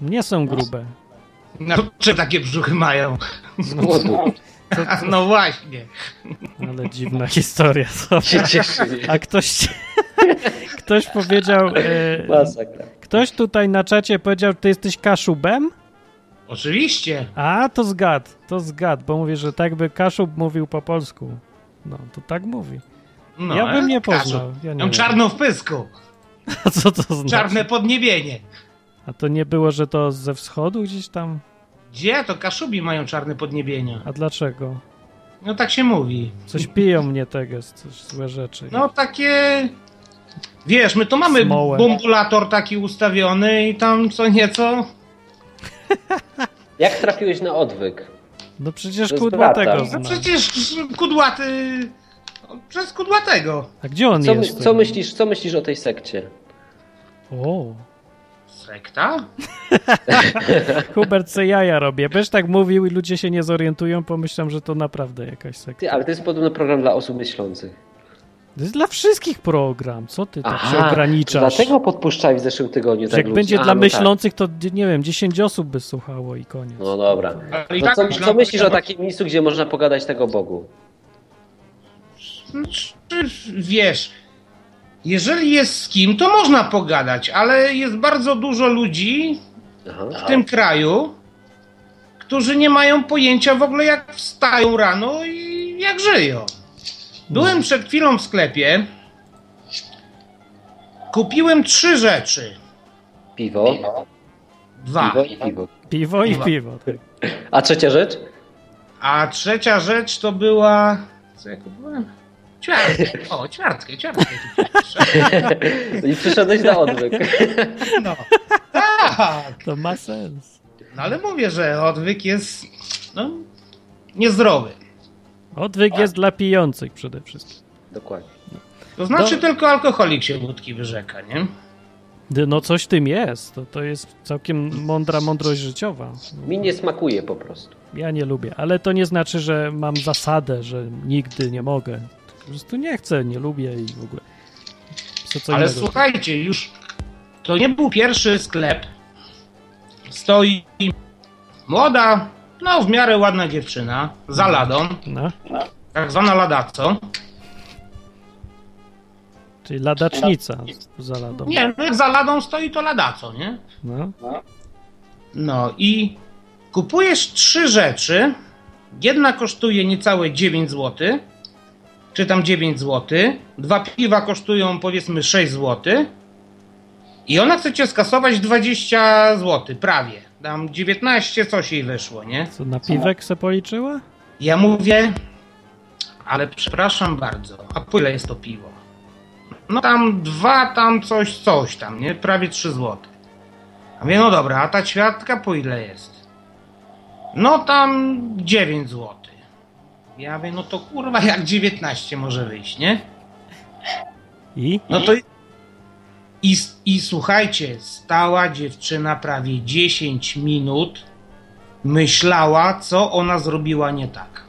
Speaker 2: Nie są grube.
Speaker 7: No, czy takie brzuchy mają?
Speaker 1: Z głodu.
Speaker 7: No właśnie.
Speaker 2: Ale dziwna historia. Co?
Speaker 1: Się cieszyli.
Speaker 2: A ktoś, ktoś powiedział, e,
Speaker 1: Masakra.
Speaker 2: ktoś tutaj na czacie powiedział, ty jesteś Kaszubem?
Speaker 7: Oczywiście.
Speaker 2: A, to zgad, to zgad, bo mówię, że tak by Kaszub mówił po polsku. No, to tak mówi.
Speaker 7: No,
Speaker 2: ja bym nie
Speaker 7: Kasiu.
Speaker 2: poznał. Ja nie
Speaker 7: Mam
Speaker 2: wiem.
Speaker 7: czarną w pysku.
Speaker 2: A co to znaczy?
Speaker 7: Czarne podniebienie.
Speaker 2: A to nie było, że to ze wschodu gdzieś tam?
Speaker 7: Gdzie? To Kaszubi mają czarne podniebienia.
Speaker 2: A dlaczego?
Speaker 7: No tak się mówi.
Speaker 2: Coś piją mnie tego, coś złe rzeczy.
Speaker 7: No takie... Wiesz, my to mamy
Speaker 2: Smołę.
Speaker 7: bombulator taki ustawiony i tam co nieco...
Speaker 1: Jak trafiłeś na odwyk?
Speaker 2: No przecież
Speaker 1: To jest
Speaker 2: kudła
Speaker 1: brata.
Speaker 2: tego
Speaker 7: No
Speaker 2: znam.
Speaker 7: przecież kudłaty... no, Przez kudłatego.
Speaker 2: A gdzie on
Speaker 1: Co, my-
Speaker 2: jest?
Speaker 1: co, myślisz, co myślisz o tej sekcie?
Speaker 2: O,
Speaker 7: Sekta?
Speaker 2: Hubert se jaja robię. Będziesz tak mówił i ludzie się nie zorientują, pomyślą, że to naprawdę jakaś sekta.
Speaker 1: Ty, ale to jest podobno program dla osób myślących.
Speaker 2: To jest dla wszystkich program. Co ty tak się ograniczasz?
Speaker 1: dlatego podpuszczali w zeszłym tygodniu
Speaker 2: Że
Speaker 1: tak
Speaker 2: jak
Speaker 1: ludzi.
Speaker 2: będzie
Speaker 1: A,
Speaker 2: dla
Speaker 1: no
Speaker 2: myślących, to nie wiem, 10 osób by słuchało i koniec.
Speaker 1: Tak. No dobra.
Speaker 7: Ale i
Speaker 1: No
Speaker 7: tak
Speaker 1: co,
Speaker 7: myślę-
Speaker 1: co myślisz o takim miejscu, gdzie można pogadać tego o Bogu?
Speaker 7: Znaczy, wiesz, jeżeli jest z kim, to można pogadać, ale jest bardzo dużo ludzi
Speaker 1: Aha.
Speaker 7: w tym kraju, którzy nie mają pojęcia w ogóle, jak wstają rano i jak żyją. Byłem przed chwilą w sklepie, kupiłem trzy rzeczy.
Speaker 1: Piwo,
Speaker 7: Dwa.
Speaker 1: piwo i piwo.
Speaker 2: Piwo i
Speaker 1: No.
Speaker 7: Piwa.
Speaker 2: piwo. tak.
Speaker 1: A trzecia rzecz?
Speaker 7: A trzecia rzecz to była. Co ja kupowałem? Ćwiartkę. O, ćwiartkę, ćwiartkę.
Speaker 1: I przyszedłeś na odwyk.
Speaker 7: No. Tak.
Speaker 2: To ma sens.
Speaker 7: No ale mówię, że odwyk jest no, niezdrowy.
Speaker 1: Tak.
Speaker 2: Odwyk jest dla pijących przede wszystkim.
Speaker 1: Dokładnie.
Speaker 7: To znaczy
Speaker 2: No.
Speaker 7: tylko alkoholik się wódki wyrzeka, nie?
Speaker 2: Ty, No coś w tym jest. To, to jest całkiem mądra mądrość życiowa.
Speaker 1: Mi nie smakuje po prostu.
Speaker 2: Ja nie lubię, ale to nie znaczy, że mam zasadę, że nigdy nie mogę. Po prostu nie chcę, nie lubię i w ogóle. Co, co
Speaker 7: ale
Speaker 2: innego.
Speaker 7: słuchajcie, już to nie był pierwszy sklep. Stoi młoda, no w miarę ładna dziewczyna, za ladą,
Speaker 2: No,
Speaker 7: tak zwana ladaco.
Speaker 2: czyli ladacznica z- za ladą.
Speaker 7: Nie, no jak za ladą stoi, to ladaco, nie?
Speaker 2: No.
Speaker 7: No i kupujesz trzy rzeczy. Jedna kosztuje niecałe 9 zł, czy tam 9 zł. Dwa piwa kosztują powiedzmy 6 zł. I ona chce cię skasować 20 zł, prawie. Tam 19 coś jej wyszło, nie?
Speaker 2: Co, na piwek se policzyła?
Speaker 7: Ja mówię, ale przepraszam bardzo, a po ile jest to piwo? No tam dwa, tam coś, coś tam, nie? Prawie trzy złote. A mówię, no dobra, a ta ćwiartka po ile jest? No tam 9 złotych. Ja mówię, no to kurwa, jak 19 może wyjść, nie?
Speaker 2: I?
Speaker 7: No to... I, I słuchajcie, stała dziewczyna prawie 10 minut, myślała, co ona zrobiła nie tak.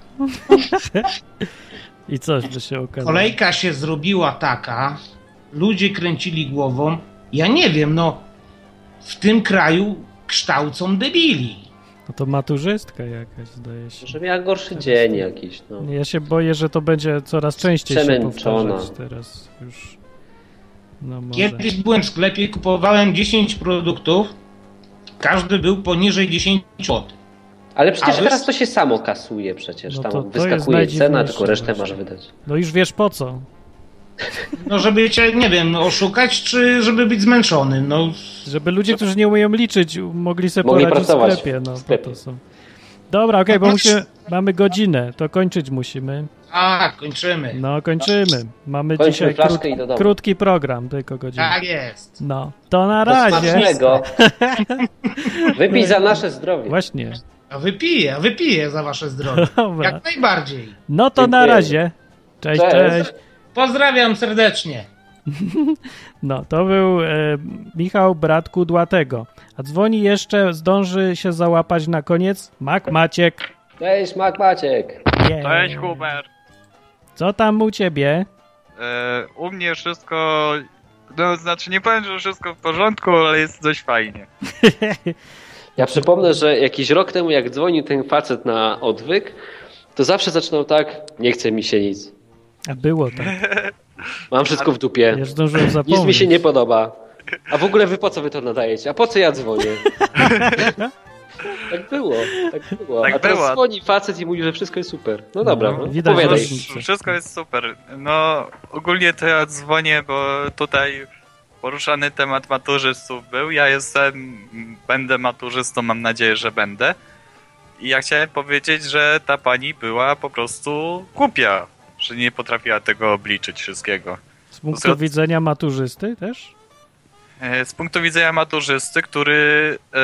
Speaker 2: I coś by się okazało.
Speaker 7: Kolejka się zrobiła taka, ludzie kręcili głową. Ja nie wiem, no w tym kraju kształcą debili.
Speaker 2: No to maturzystka jakaś, zdaje się.
Speaker 1: Może miała gorszy dzień jakiś. No.
Speaker 2: Ja się boję, że to będzie coraz częściej się
Speaker 1: Przemęczona.
Speaker 2: powtarzać teraz już. No może.
Speaker 7: Kiedyś byłem w sklepie, kupowałem 10 produktów, każdy był poniżej 10 zł.
Speaker 1: Ale przecież
Speaker 7: A wy-
Speaker 1: teraz to się samo kasuje przecież.
Speaker 2: No
Speaker 1: Tam
Speaker 2: to- to jest
Speaker 1: wyskakuje
Speaker 2: najdziwniejsze
Speaker 1: cena, tylko resztę
Speaker 2: właśnie.
Speaker 1: masz wydać.
Speaker 2: No już wiesz po co.
Speaker 7: No żeby cię, nie wiem, oszukać, czy żeby być zmęczony. No
Speaker 2: Żeby ludzie, którzy nie umieją liczyć, mogli sobie
Speaker 1: Mogli
Speaker 2: poradzić w
Speaker 1: pracować
Speaker 2: sklepie. No,
Speaker 1: w sklepie.
Speaker 2: po to są. Dobra, okej, bo
Speaker 7: No,
Speaker 2: musimy, mamy godzinę, to kończyć musimy.
Speaker 7: a, kończymy.
Speaker 2: No, kończymy. Mamy
Speaker 1: Kończmy
Speaker 2: dzisiaj
Speaker 1: flaszkę
Speaker 2: krót-
Speaker 1: i do domu.
Speaker 2: krótki program, tylko godzinę.
Speaker 7: Tak jest.
Speaker 2: No, to na
Speaker 1: Do
Speaker 2: razie. No
Speaker 1: smacznego. Wypij za nasze zdrowie.
Speaker 2: Właśnie,
Speaker 7: A wypiję, a wypiję za wasze zdrowie.
Speaker 2: dobra.
Speaker 7: Jak najbardziej.
Speaker 2: No to na
Speaker 1: Dziękujemy.
Speaker 2: razie. Cześć,
Speaker 1: Cześć.
Speaker 2: cześć.
Speaker 7: Pozdrawiam serdecznie.
Speaker 2: No, to był e, Michał Brat Kudłatego. A dzwoni jeszcze, zdąży się załapać na koniec Mak Maciek.
Speaker 1: Cześć, Mak Maciek.
Speaker 2: Yeah.
Speaker 8: Cześć Hubert.
Speaker 2: Co tam u ciebie?
Speaker 8: E, u mnie wszystko. No znaczy nie powiem, że wszystko w porządku, ale jest dość fajnie.
Speaker 1: Ja przypomnę, że jakiś rok temu, jak dzwonił ten facet na odwyk, to zawsze zaczynał tak, nie chce mi się nic.
Speaker 2: A było tak.
Speaker 1: Mam wszystko w
Speaker 2: Ja
Speaker 1: dupie.
Speaker 2: już zdążyłem zapomnieć.
Speaker 1: Nic mi się nie podoba. A w ogóle wy po co wy to nadajecie? A po co ja dzwonię? tak było, tak było.
Speaker 8: Tak
Speaker 1: A teraz
Speaker 8: było.
Speaker 1: dzwoni facet i mówi, że wszystko jest super. No dobra,
Speaker 2: No,
Speaker 1: no,
Speaker 2: widać,
Speaker 8: No,
Speaker 1: opowiadaj.
Speaker 2: że-
Speaker 8: wsz- wszystko jest super. No, ogólnie to ja dzwonię, bo tutaj poruszany temat maturzystów był. Ja jestem, będę maturzystą, mam nadzieję, że będę. I ja chciałem powiedzieć, że ta pani była po prostu głupia, że nie potrafiła tego obliczyć wszystkiego.
Speaker 2: Z punktu widzenia maturzysty też?
Speaker 8: E, Z punktu widzenia maturzysty, który e,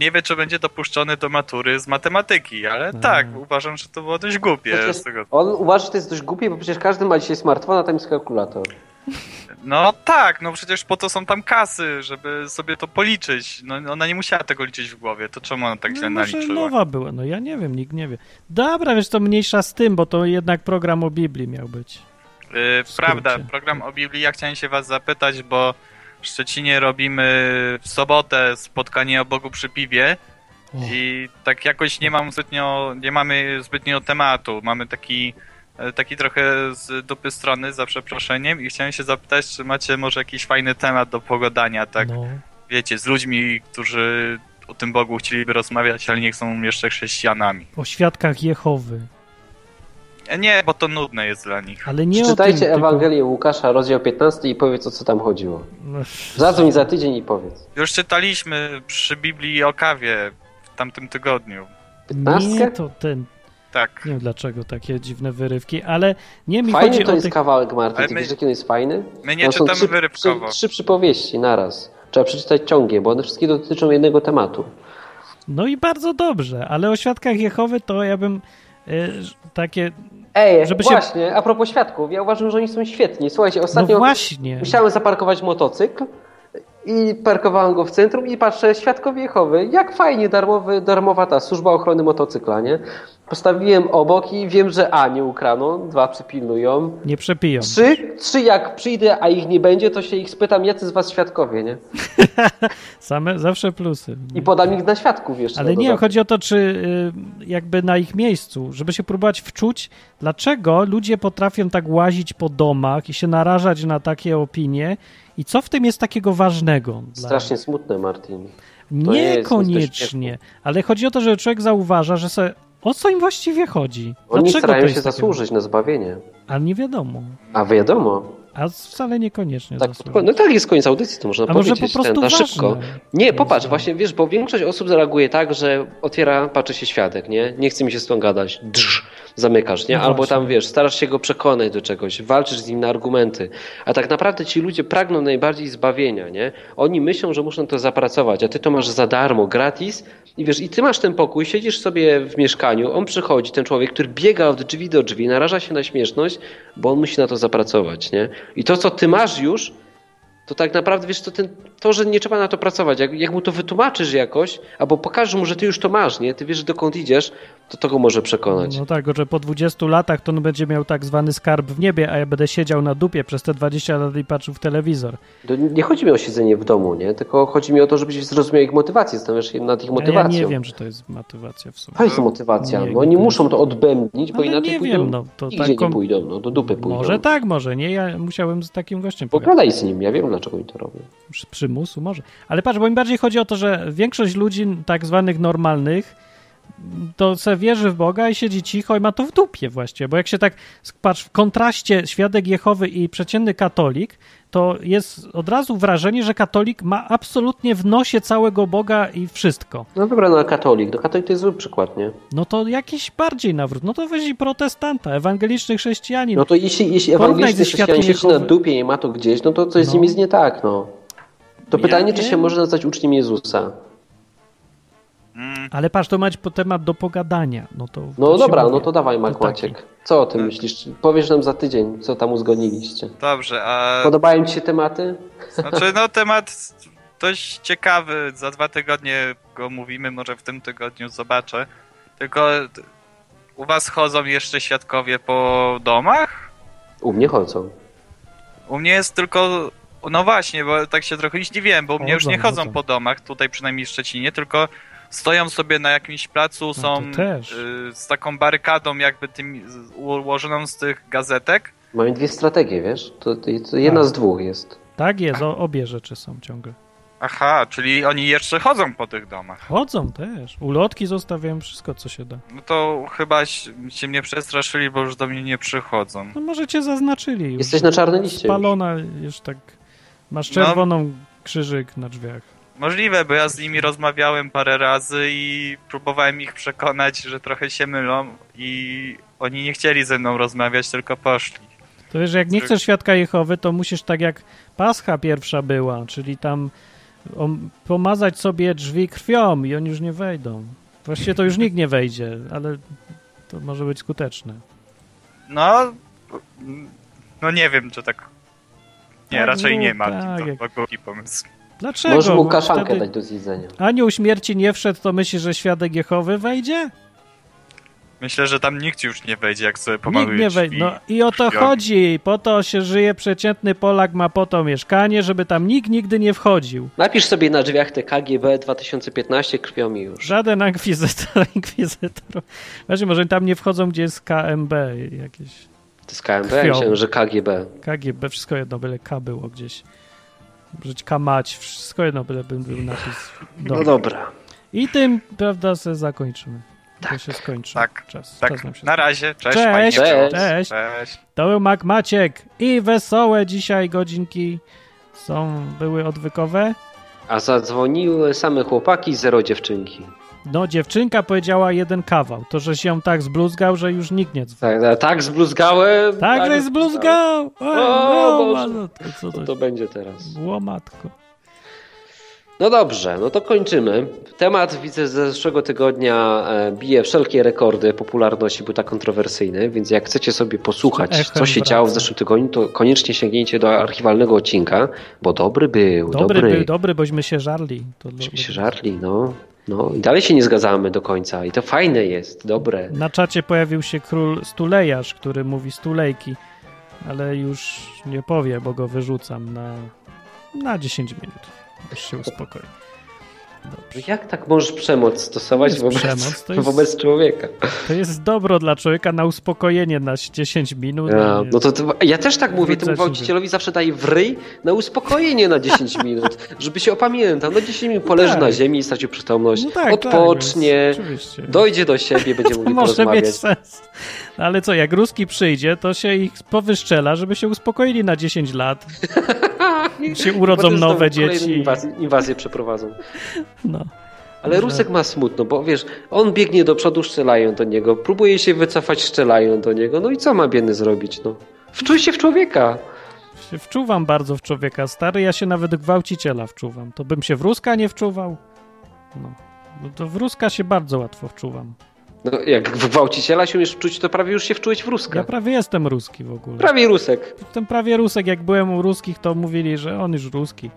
Speaker 8: nie wie, czy będzie dopuszczony do matury z matematyki, ale
Speaker 2: A.
Speaker 8: tak, uważam, że to było dość głupie.
Speaker 1: To jest-
Speaker 8: z tego
Speaker 1: On uważa, że to jest dość głupie, bo przecież każdy ma dzisiaj smartfona, tam jest kalkulator.
Speaker 8: No tak, no przecież po to są tam kasy, żeby sobie to policzyć. No ona nie musiała tego liczyć w głowie, to czemu ona tak źle
Speaker 2: No może
Speaker 8: naliczyła?
Speaker 2: nowa była, no ja nie wiem, nikt nie wie. Dobra, wiesz, to mniejsza z tym, bo to jednak program o Biblii miał być.
Speaker 8: Y,
Speaker 2: skrócie.
Speaker 8: prawda, program o Biblii, ja chciałem się was zapytać, bo w Szczecinie robimy w sobotę spotkanie o Bogu przy piwie i tak jakoś nie mam zbytnio, nie mamy zbytnio tematu. Mamy taki, e, taki trochę z dupy strony, za przeproszeniem i chciałem się zapytać, czy macie może jakiś fajny temat do pogadania, tak?
Speaker 2: No.
Speaker 8: wiecie, z ludźmi, którzy o tym Bogu chcieliby rozmawiać, ale nie są jeszcze chrześcijanami.
Speaker 2: O świadkach Jehowy.
Speaker 8: E, Nie, bo to nudne jest dla nich.
Speaker 2: Ale nie
Speaker 1: Przeczytajcie
Speaker 2: o tym,
Speaker 1: Ewangelię Łukasza, rozdział 15 i powiedz, o co tam chodziło.
Speaker 2: Tylko... No,
Speaker 1: Zadzwoń za tydzień i powiedz.
Speaker 8: Już czytaliśmy przy Biblii o kawie w tamtym tygodniu.
Speaker 2: nie,
Speaker 1: 15?
Speaker 2: to ten,
Speaker 8: Tak.
Speaker 2: nie wiem dlaczego takie dziwne wyrywki, ale nie mi
Speaker 1: Fajny
Speaker 2: chodzi
Speaker 1: to
Speaker 2: o
Speaker 1: jest
Speaker 2: tych...
Speaker 1: kawałek, Martin.
Speaker 8: Ale
Speaker 1: Ty
Speaker 8: my-
Speaker 1: wiesz, jaki on jest fajny?
Speaker 8: My nie
Speaker 1: Tam są
Speaker 8: czytamy
Speaker 1: trzy,
Speaker 8: wyrywkowo.
Speaker 1: są trzy przypowieści naraz. Trzeba przeczytać ciągiem, bo one wszystkie dotyczą jednego tematu.
Speaker 2: No i bardzo dobrze, ale o świadkach Jehowy to ja bym e, takie...
Speaker 1: Ej,
Speaker 2: Żeby się-
Speaker 1: właśnie, a propos świadków, ja uważam, że oni są świetni. Słuchajcie, ostatnio
Speaker 2: No właśnie.
Speaker 1: musiałem zaparkować motocykl i parkowałem go w centrum i patrzę, świadkowie Jehowy, jak fajnie, darmowy, darmowa ta służba ochrony motocykla, nie? Postawiłem obok i wiem, że A nie ukrano, dwa przypilnują,
Speaker 2: Nie przepiją.
Speaker 1: trzy, trzy jak przyjdę, a ich nie będzie, to się ich spytam, jacy z was świadkowie, nie?
Speaker 2: Same, zawsze plusy.
Speaker 1: I podam ich na świadków jeszcze.
Speaker 2: Ale
Speaker 1: na
Speaker 2: nie,
Speaker 1: dodatek.
Speaker 2: chodzi o to, czy y, jakby na ich miejscu, żeby się próbować wczuć, dlaczego ludzie potrafią tak łazić po domach i się narażać na takie opinie i co w tym jest takiego ważnego? dla-
Speaker 1: Strasznie smutne, Martin. to jest nic do
Speaker 2: Niekoniecznie, ale chodzi o to, że człowiek zauważa, że se, o co im właściwie chodzi?
Speaker 1: Oni
Speaker 2: Dlaczego to
Speaker 1: starają
Speaker 2: jest
Speaker 1: się
Speaker 2: takie-
Speaker 1: zasłużyć na zbawienie.
Speaker 2: A nie wiadomo,
Speaker 1: A wiadomo.
Speaker 2: a wcale niekoniecznie
Speaker 1: Tak,
Speaker 2: zasłużyć.
Speaker 1: no tak jest koniec audycji, to można
Speaker 2: A może
Speaker 1: powiedzieć.
Speaker 2: po prostu
Speaker 1: ten, na
Speaker 2: ważne.
Speaker 1: szybko. Nie,
Speaker 2: no.
Speaker 1: popatrz, właśnie wiesz, bo większość osób zareaguje tak, że otwiera, patrzy się świadek, nie? Nie chce mi się z tą gadać, drż, zamykasz, nie?
Speaker 2: No
Speaker 1: Albo
Speaker 2: właśnie.
Speaker 1: tam, wiesz, starasz się go przekonać do czegoś, walczysz z nim na argumenty. A tak naprawdę ci ludzie pragną najbardziej zbawienia, nie? Oni myślą, że muszą to zapracować, a ty to masz za darmo, gratis i wiesz, i ty masz ten pokój, siedzisz sobie w mieszkaniu, on przychodzi, ten człowiek, który biega od drzwi do drzwi, naraża się na śmieszność, bo on musi na to zapracować, nie? I to, co ty masz już, to tak naprawdę wiesz, to, ten, to że nie trzeba na to pracować. Jak, jak mu to wytłumaczysz jakoś, albo pokażesz mu, że ty już to masz, nie? Ty wiesz, dokąd idziesz, to to go może przekonać.
Speaker 2: No tak, że po 20 latach to on będzie miał tak zwany skarb w niebie, a ja będę siedział na dupie przez te 20 lat i patrzył w telewizor.
Speaker 1: To nie- nie chodzi mi o siedzenie w domu, nie? Tylko chodzi mi o to, żebyś zrozumiał ich motywację, zastanawiasz się nad ich
Speaker 2: A ja
Speaker 1: motywacją.
Speaker 2: nie wiem, czy to jest motywacja w sumie.
Speaker 1: To jest motywacja.
Speaker 2: Nie,
Speaker 1: no, oni
Speaker 2: nie
Speaker 1: muszą to odbędnić, bo
Speaker 2: Ale
Speaker 1: inaczej
Speaker 2: nie
Speaker 1: pójdą,
Speaker 2: wiem, no to
Speaker 1: nigdzie
Speaker 2: tak
Speaker 1: nie
Speaker 2: kom-
Speaker 1: pójdą, no do dupy pójdą.
Speaker 2: Może tak, może nie. Ja musiałem z takim gościem pogadać.
Speaker 1: Pogadaj z nim, ja wiem, dlaczego oni to robią.
Speaker 2: Przy, przymusu może. Ale patrz, bo mi bardziej chodzi o to, że większość ludzi tak zwanych normalnych to se wierzy w Boga i siedzi cicho i ma to w dupie właściwie, bo jak się tak sk- patrz w kontraście świadek Jehowy i przeciętny katolik, to jest od razu wrażenie, że katolik ma absolutnie w nosie całego Boga i wszystko.
Speaker 1: No dobra, no a katolik, no katolik to jest zły przykład, nie?
Speaker 2: No to jakiś bardziej nawrót. No to weź i protestanta, ewangeliczny chrześcijanin.
Speaker 1: No to jeśli, jeśli
Speaker 2: Porównaj
Speaker 1: ewangeliczny
Speaker 2: ze światłem
Speaker 1: chrześcijanin siedzi na
Speaker 2: Jehowy.
Speaker 1: dupie i ma to gdzieś, no to coś z nim
Speaker 2: No.
Speaker 1: jest nie tak, no. To
Speaker 2: Ja
Speaker 1: pytanie, czy
Speaker 2: wiem.
Speaker 1: się można stać uczniem Jezusa?
Speaker 8: Mm,
Speaker 2: Ale patrz, to mać po temat do pogadania. No, to,
Speaker 1: No
Speaker 2: to się
Speaker 1: dobra,
Speaker 2: mówi.
Speaker 1: no to dawaj Mark
Speaker 2: To tak. taki.
Speaker 1: Maciek. Co o tym myślisz? Powiesz nam za tydzień, co tam uzgodniliście.
Speaker 8: Dobrze, a
Speaker 1: Podobają ci się tematy?
Speaker 8: znaczy no temat dość ciekawy, za dwa tygodnie go mówimy, może w tym tygodniu zobaczę. Tylko t- u was chodzą jeszcze świadkowie po domach?
Speaker 1: U mnie chodzą.
Speaker 8: U mnie jest tylko No właśnie, bo tak się trochę zdziwiłem, bo u mnie już nie
Speaker 2: Chodzą,
Speaker 8: chodzą
Speaker 2: chodzą.
Speaker 8: po domach, tutaj przynajmniej w Szczecinie, tylko stoją sobie na jakimś placu, są
Speaker 2: No to też.
Speaker 8: y, z taką barykadą jakby tym z- ułożoną z tych gazetek.
Speaker 1: Mamy dwie strategie, wiesz? To, to, to jedna
Speaker 2: Tak.
Speaker 1: z dwóch jest.
Speaker 2: Tak jest, o, obie rzeczy są ciągle.
Speaker 8: Aha, czyli oni jeszcze chodzą po tych domach.
Speaker 2: Chodzą też. Ulotki zostawiają wszystko, co się da.
Speaker 8: No to chyba ś- się mnie przestraszyli, bo już do mnie nie przychodzą.
Speaker 2: No może cię zaznaczyli już.
Speaker 1: Jesteś na czarnym liście już.
Speaker 2: Spalona już tak. Masz
Speaker 8: No.
Speaker 2: czerwoną krzyżyk na drzwiach.
Speaker 8: Możliwe, bo ja z nimi rozmawiałem parę razy i próbowałem ich przekonać, że trochę się mylą i oni nie chcieli ze mną rozmawiać, tylko poszli.
Speaker 2: To wiesz, jak nie
Speaker 8: Tak.
Speaker 2: chcesz świadka Jehowy, to musisz tak jak Pascha pierwsza była, czyli tam om- pomazać sobie drzwi krwią i oni już nie wejdą. Właściwie to już nikt nie wejdzie, ale to może być skuteczne.
Speaker 8: No, no nie wiem, czy tak. Nie,
Speaker 2: Tak,
Speaker 8: raczej
Speaker 2: no,
Speaker 8: nie ma.
Speaker 2: tak,
Speaker 8: to
Speaker 2: jak-
Speaker 8: chyba głupi pomysł.
Speaker 2: Dlaczego?
Speaker 1: Możesz mu
Speaker 2: Bo
Speaker 1: kaszankę
Speaker 2: wtedy
Speaker 1: dać do zjedzenia.
Speaker 2: Anioł śmierci nie wszedł, to myślisz, że świadek Jehowy wejdzie?
Speaker 8: Myślę, że tam nikt już nie wejdzie, jak sobie pomaluje
Speaker 2: Nikt nie wejdzie.
Speaker 8: drzwi.
Speaker 2: No i o to
Speaker 8: Drzwiami.
Speaker 2: chodzi. Po to się żyje przeciętny Polak, ma po to mieszkanie, żeby tam nikt nigdy nie wchodził.
Speaker 1: Napisz sobie na drzwiach te KGB 2015 krwią mi już.
Speaker 2: Żaden inkwizytor, inkwizytor. Właśnie, może tam nie wchodzą, gdzie jest KMB jakieś.
Speaker 1: To jest KMB,
Speaker 2: Krwią.
Speaker 1: ja myślałem, że KGB.
Speaker 2: KGB, wszystko jedno, byle K było gdzieś. Brzeć kamać, wszystko jedno, byle bym był napis.
Speaker 1: No
Speaker 2: Dobra.
Speaker 1: dobra.
Speaker 2: I tym, prawda, se zakończymy. to się skończy.
Speaker 8: tak,
Speaker 2: Czas, czas nam
Speaker 8: Tak,
Speaker 2: się
Speaker 8: na razie. Cześć.
Speaker 2: znaczy- Cześć.
Speaker 8: fajnie było.
Speaker 2: Cześć.
Speaker 1: Cześć.
Speaker 8: Cześć.
Speaker 2: To był Mac Maciek i wesołe dzisiaj godzinki są, były odwykowe.
Speaker 1: A zadzwoniły same chłopaki, zero dziewczynki.
Speaker 2: No, dziewczynka powiedziała jeden kawał. To, że się tak zbluzgał, że już nikt nie dzwoni.
Speaker 1: Tak, tak zbluzgałem.
Speaker 2: Tak, że zbluzgał! O,
Speaker 1: O,
Speaker 2: o,
Speaker 1: Boże.
Speaker 2: matko, co
Speaker 1: No To,
Speaker 2: to,
Speaker 1: to będzie teraz.
Speaker 2: Łomatko.
Speaker 1: No dobrze, no to kończymy. Temat widzę z zeszłego tygodnia e, bije wszelkie rekordy popularności, był tak kontrowersyjny, więc jak chcecie sobie posłuchać,
Speaker 2: Echem
Speaker 1: co się
Speaker 2: wraca.
Speaker 1: działo w zeszłym tygodniu, to koniecznie sięgnijcie do archiwalnego odcinka, bo dobry był,
Speaker 2: Dobry,
Speaker 1: dobry.
Speaker 2: był, dobry, bośmy się żarli. To
Speaker 1: Myśmy
Speaker 2: do-
Speaker 1: się żarli, no. No i dalej się nie zgadzamy do końca i to fajne jest, dobre.
Speaker 2: Na czacie pojawił się król Stulejarz, który mówi Stulejki, ale już nie powie, bo go wyrzucam na, na 10 minut. Już się uspokoi. Dobrze.
Speaker 1: Jak tak możesz przemoc stosować
Speaker 2: To jest
Speaker 1: wobec,
Speaker 2: przemoc, to jest-
Speaker 1: wobec człowieka?
Speaker 2: To jest dobro dla człowieka na uspokojenie na 10 minut.
Speaker 1: Ja,
Speaker 2: Nie-
Speaker 1: no to, to ja też tak mówię, temu
Speaker 2: Wrócę
Speaker 1: gwałcicielowi zawsze daję w ryj na uspokojenie na 10 minut, żeby się opamiętał. No 10 minut poleży
Speaker 2: tak.
Speaker 1: na ziemi i stracił przytomność,
Speaker 2: No tak,
Speaker 1: odpocznie,
Speaker 2: Tak, więc oczywiście.
Speaker 1: dojdzie do siebie, będzie
Speaker 2: to
Speaker 1: mógł
Speaker 2: może
Speaker 1: porozmawiać.
Speaker 2: mieć sens. No ale co, jak Ruski przyjdzie, to się ich powyszczela, żeby się uspokoili na 10 lat. się urodzą
Speaker 1: Potem znowu
Speaker 2: nowe
Speaker 1: kolejną
Speaker 2: dzieci.
Speaker 1: Inwazję, inwazję przeprowadzą.
Speaker 2: No.
Speaker 1: Ale
Speaker 2: Że-
Speaker 1: Rusek ma smutno, bo wiesz, on biegnie do przodu, strzelają do niego, próbuje się wycofać, strzelają do niego. No i co ma biedny zrobić? No? Wczuj się w człowieka.
Speaker 2: Się wczuwam bardzo w człowieka stary, ja się nawet gwałciciela wczuwam. To bym się w Ruska nie wczuwał. No. No to w Ruska się bardzo łatwo wczuwam.
Speaker 1: No, jak w gwałciciela się umiesz wczuć, to prawie już się wczułeś w Ruska.
Speaker 2: Ja prawie jestem Ruski w ogóle.
Speaker 1: Tak. Prawie Rusek.
Speaker 2: Jestem prawie Rusek. Jak byłem u Ruskich, to mówili, że on już Ruski.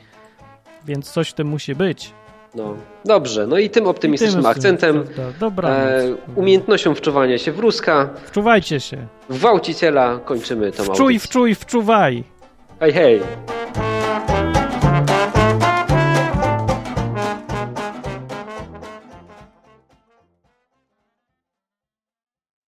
Speaker 2: Więc coś w tym musi być.
Speaker 1: No, dobrze, no i tym optymistycznym
Speaker 2: I tym
Speaker 1: akcentem,
Speaker 2: prawda. Dobranoc. Mhm.
Speaker 1: e, umiejętnością wczuwania się w Ruska,
Speaker 2: Wczuwajcie się.
Speaker 1: w Gwałciciela kończymy tą
Speaker 2: Wczuj,
Speaker 1: audycję.
Speaker 2: wczuj, wczuwaj.
Speaker 1: Hej, hej!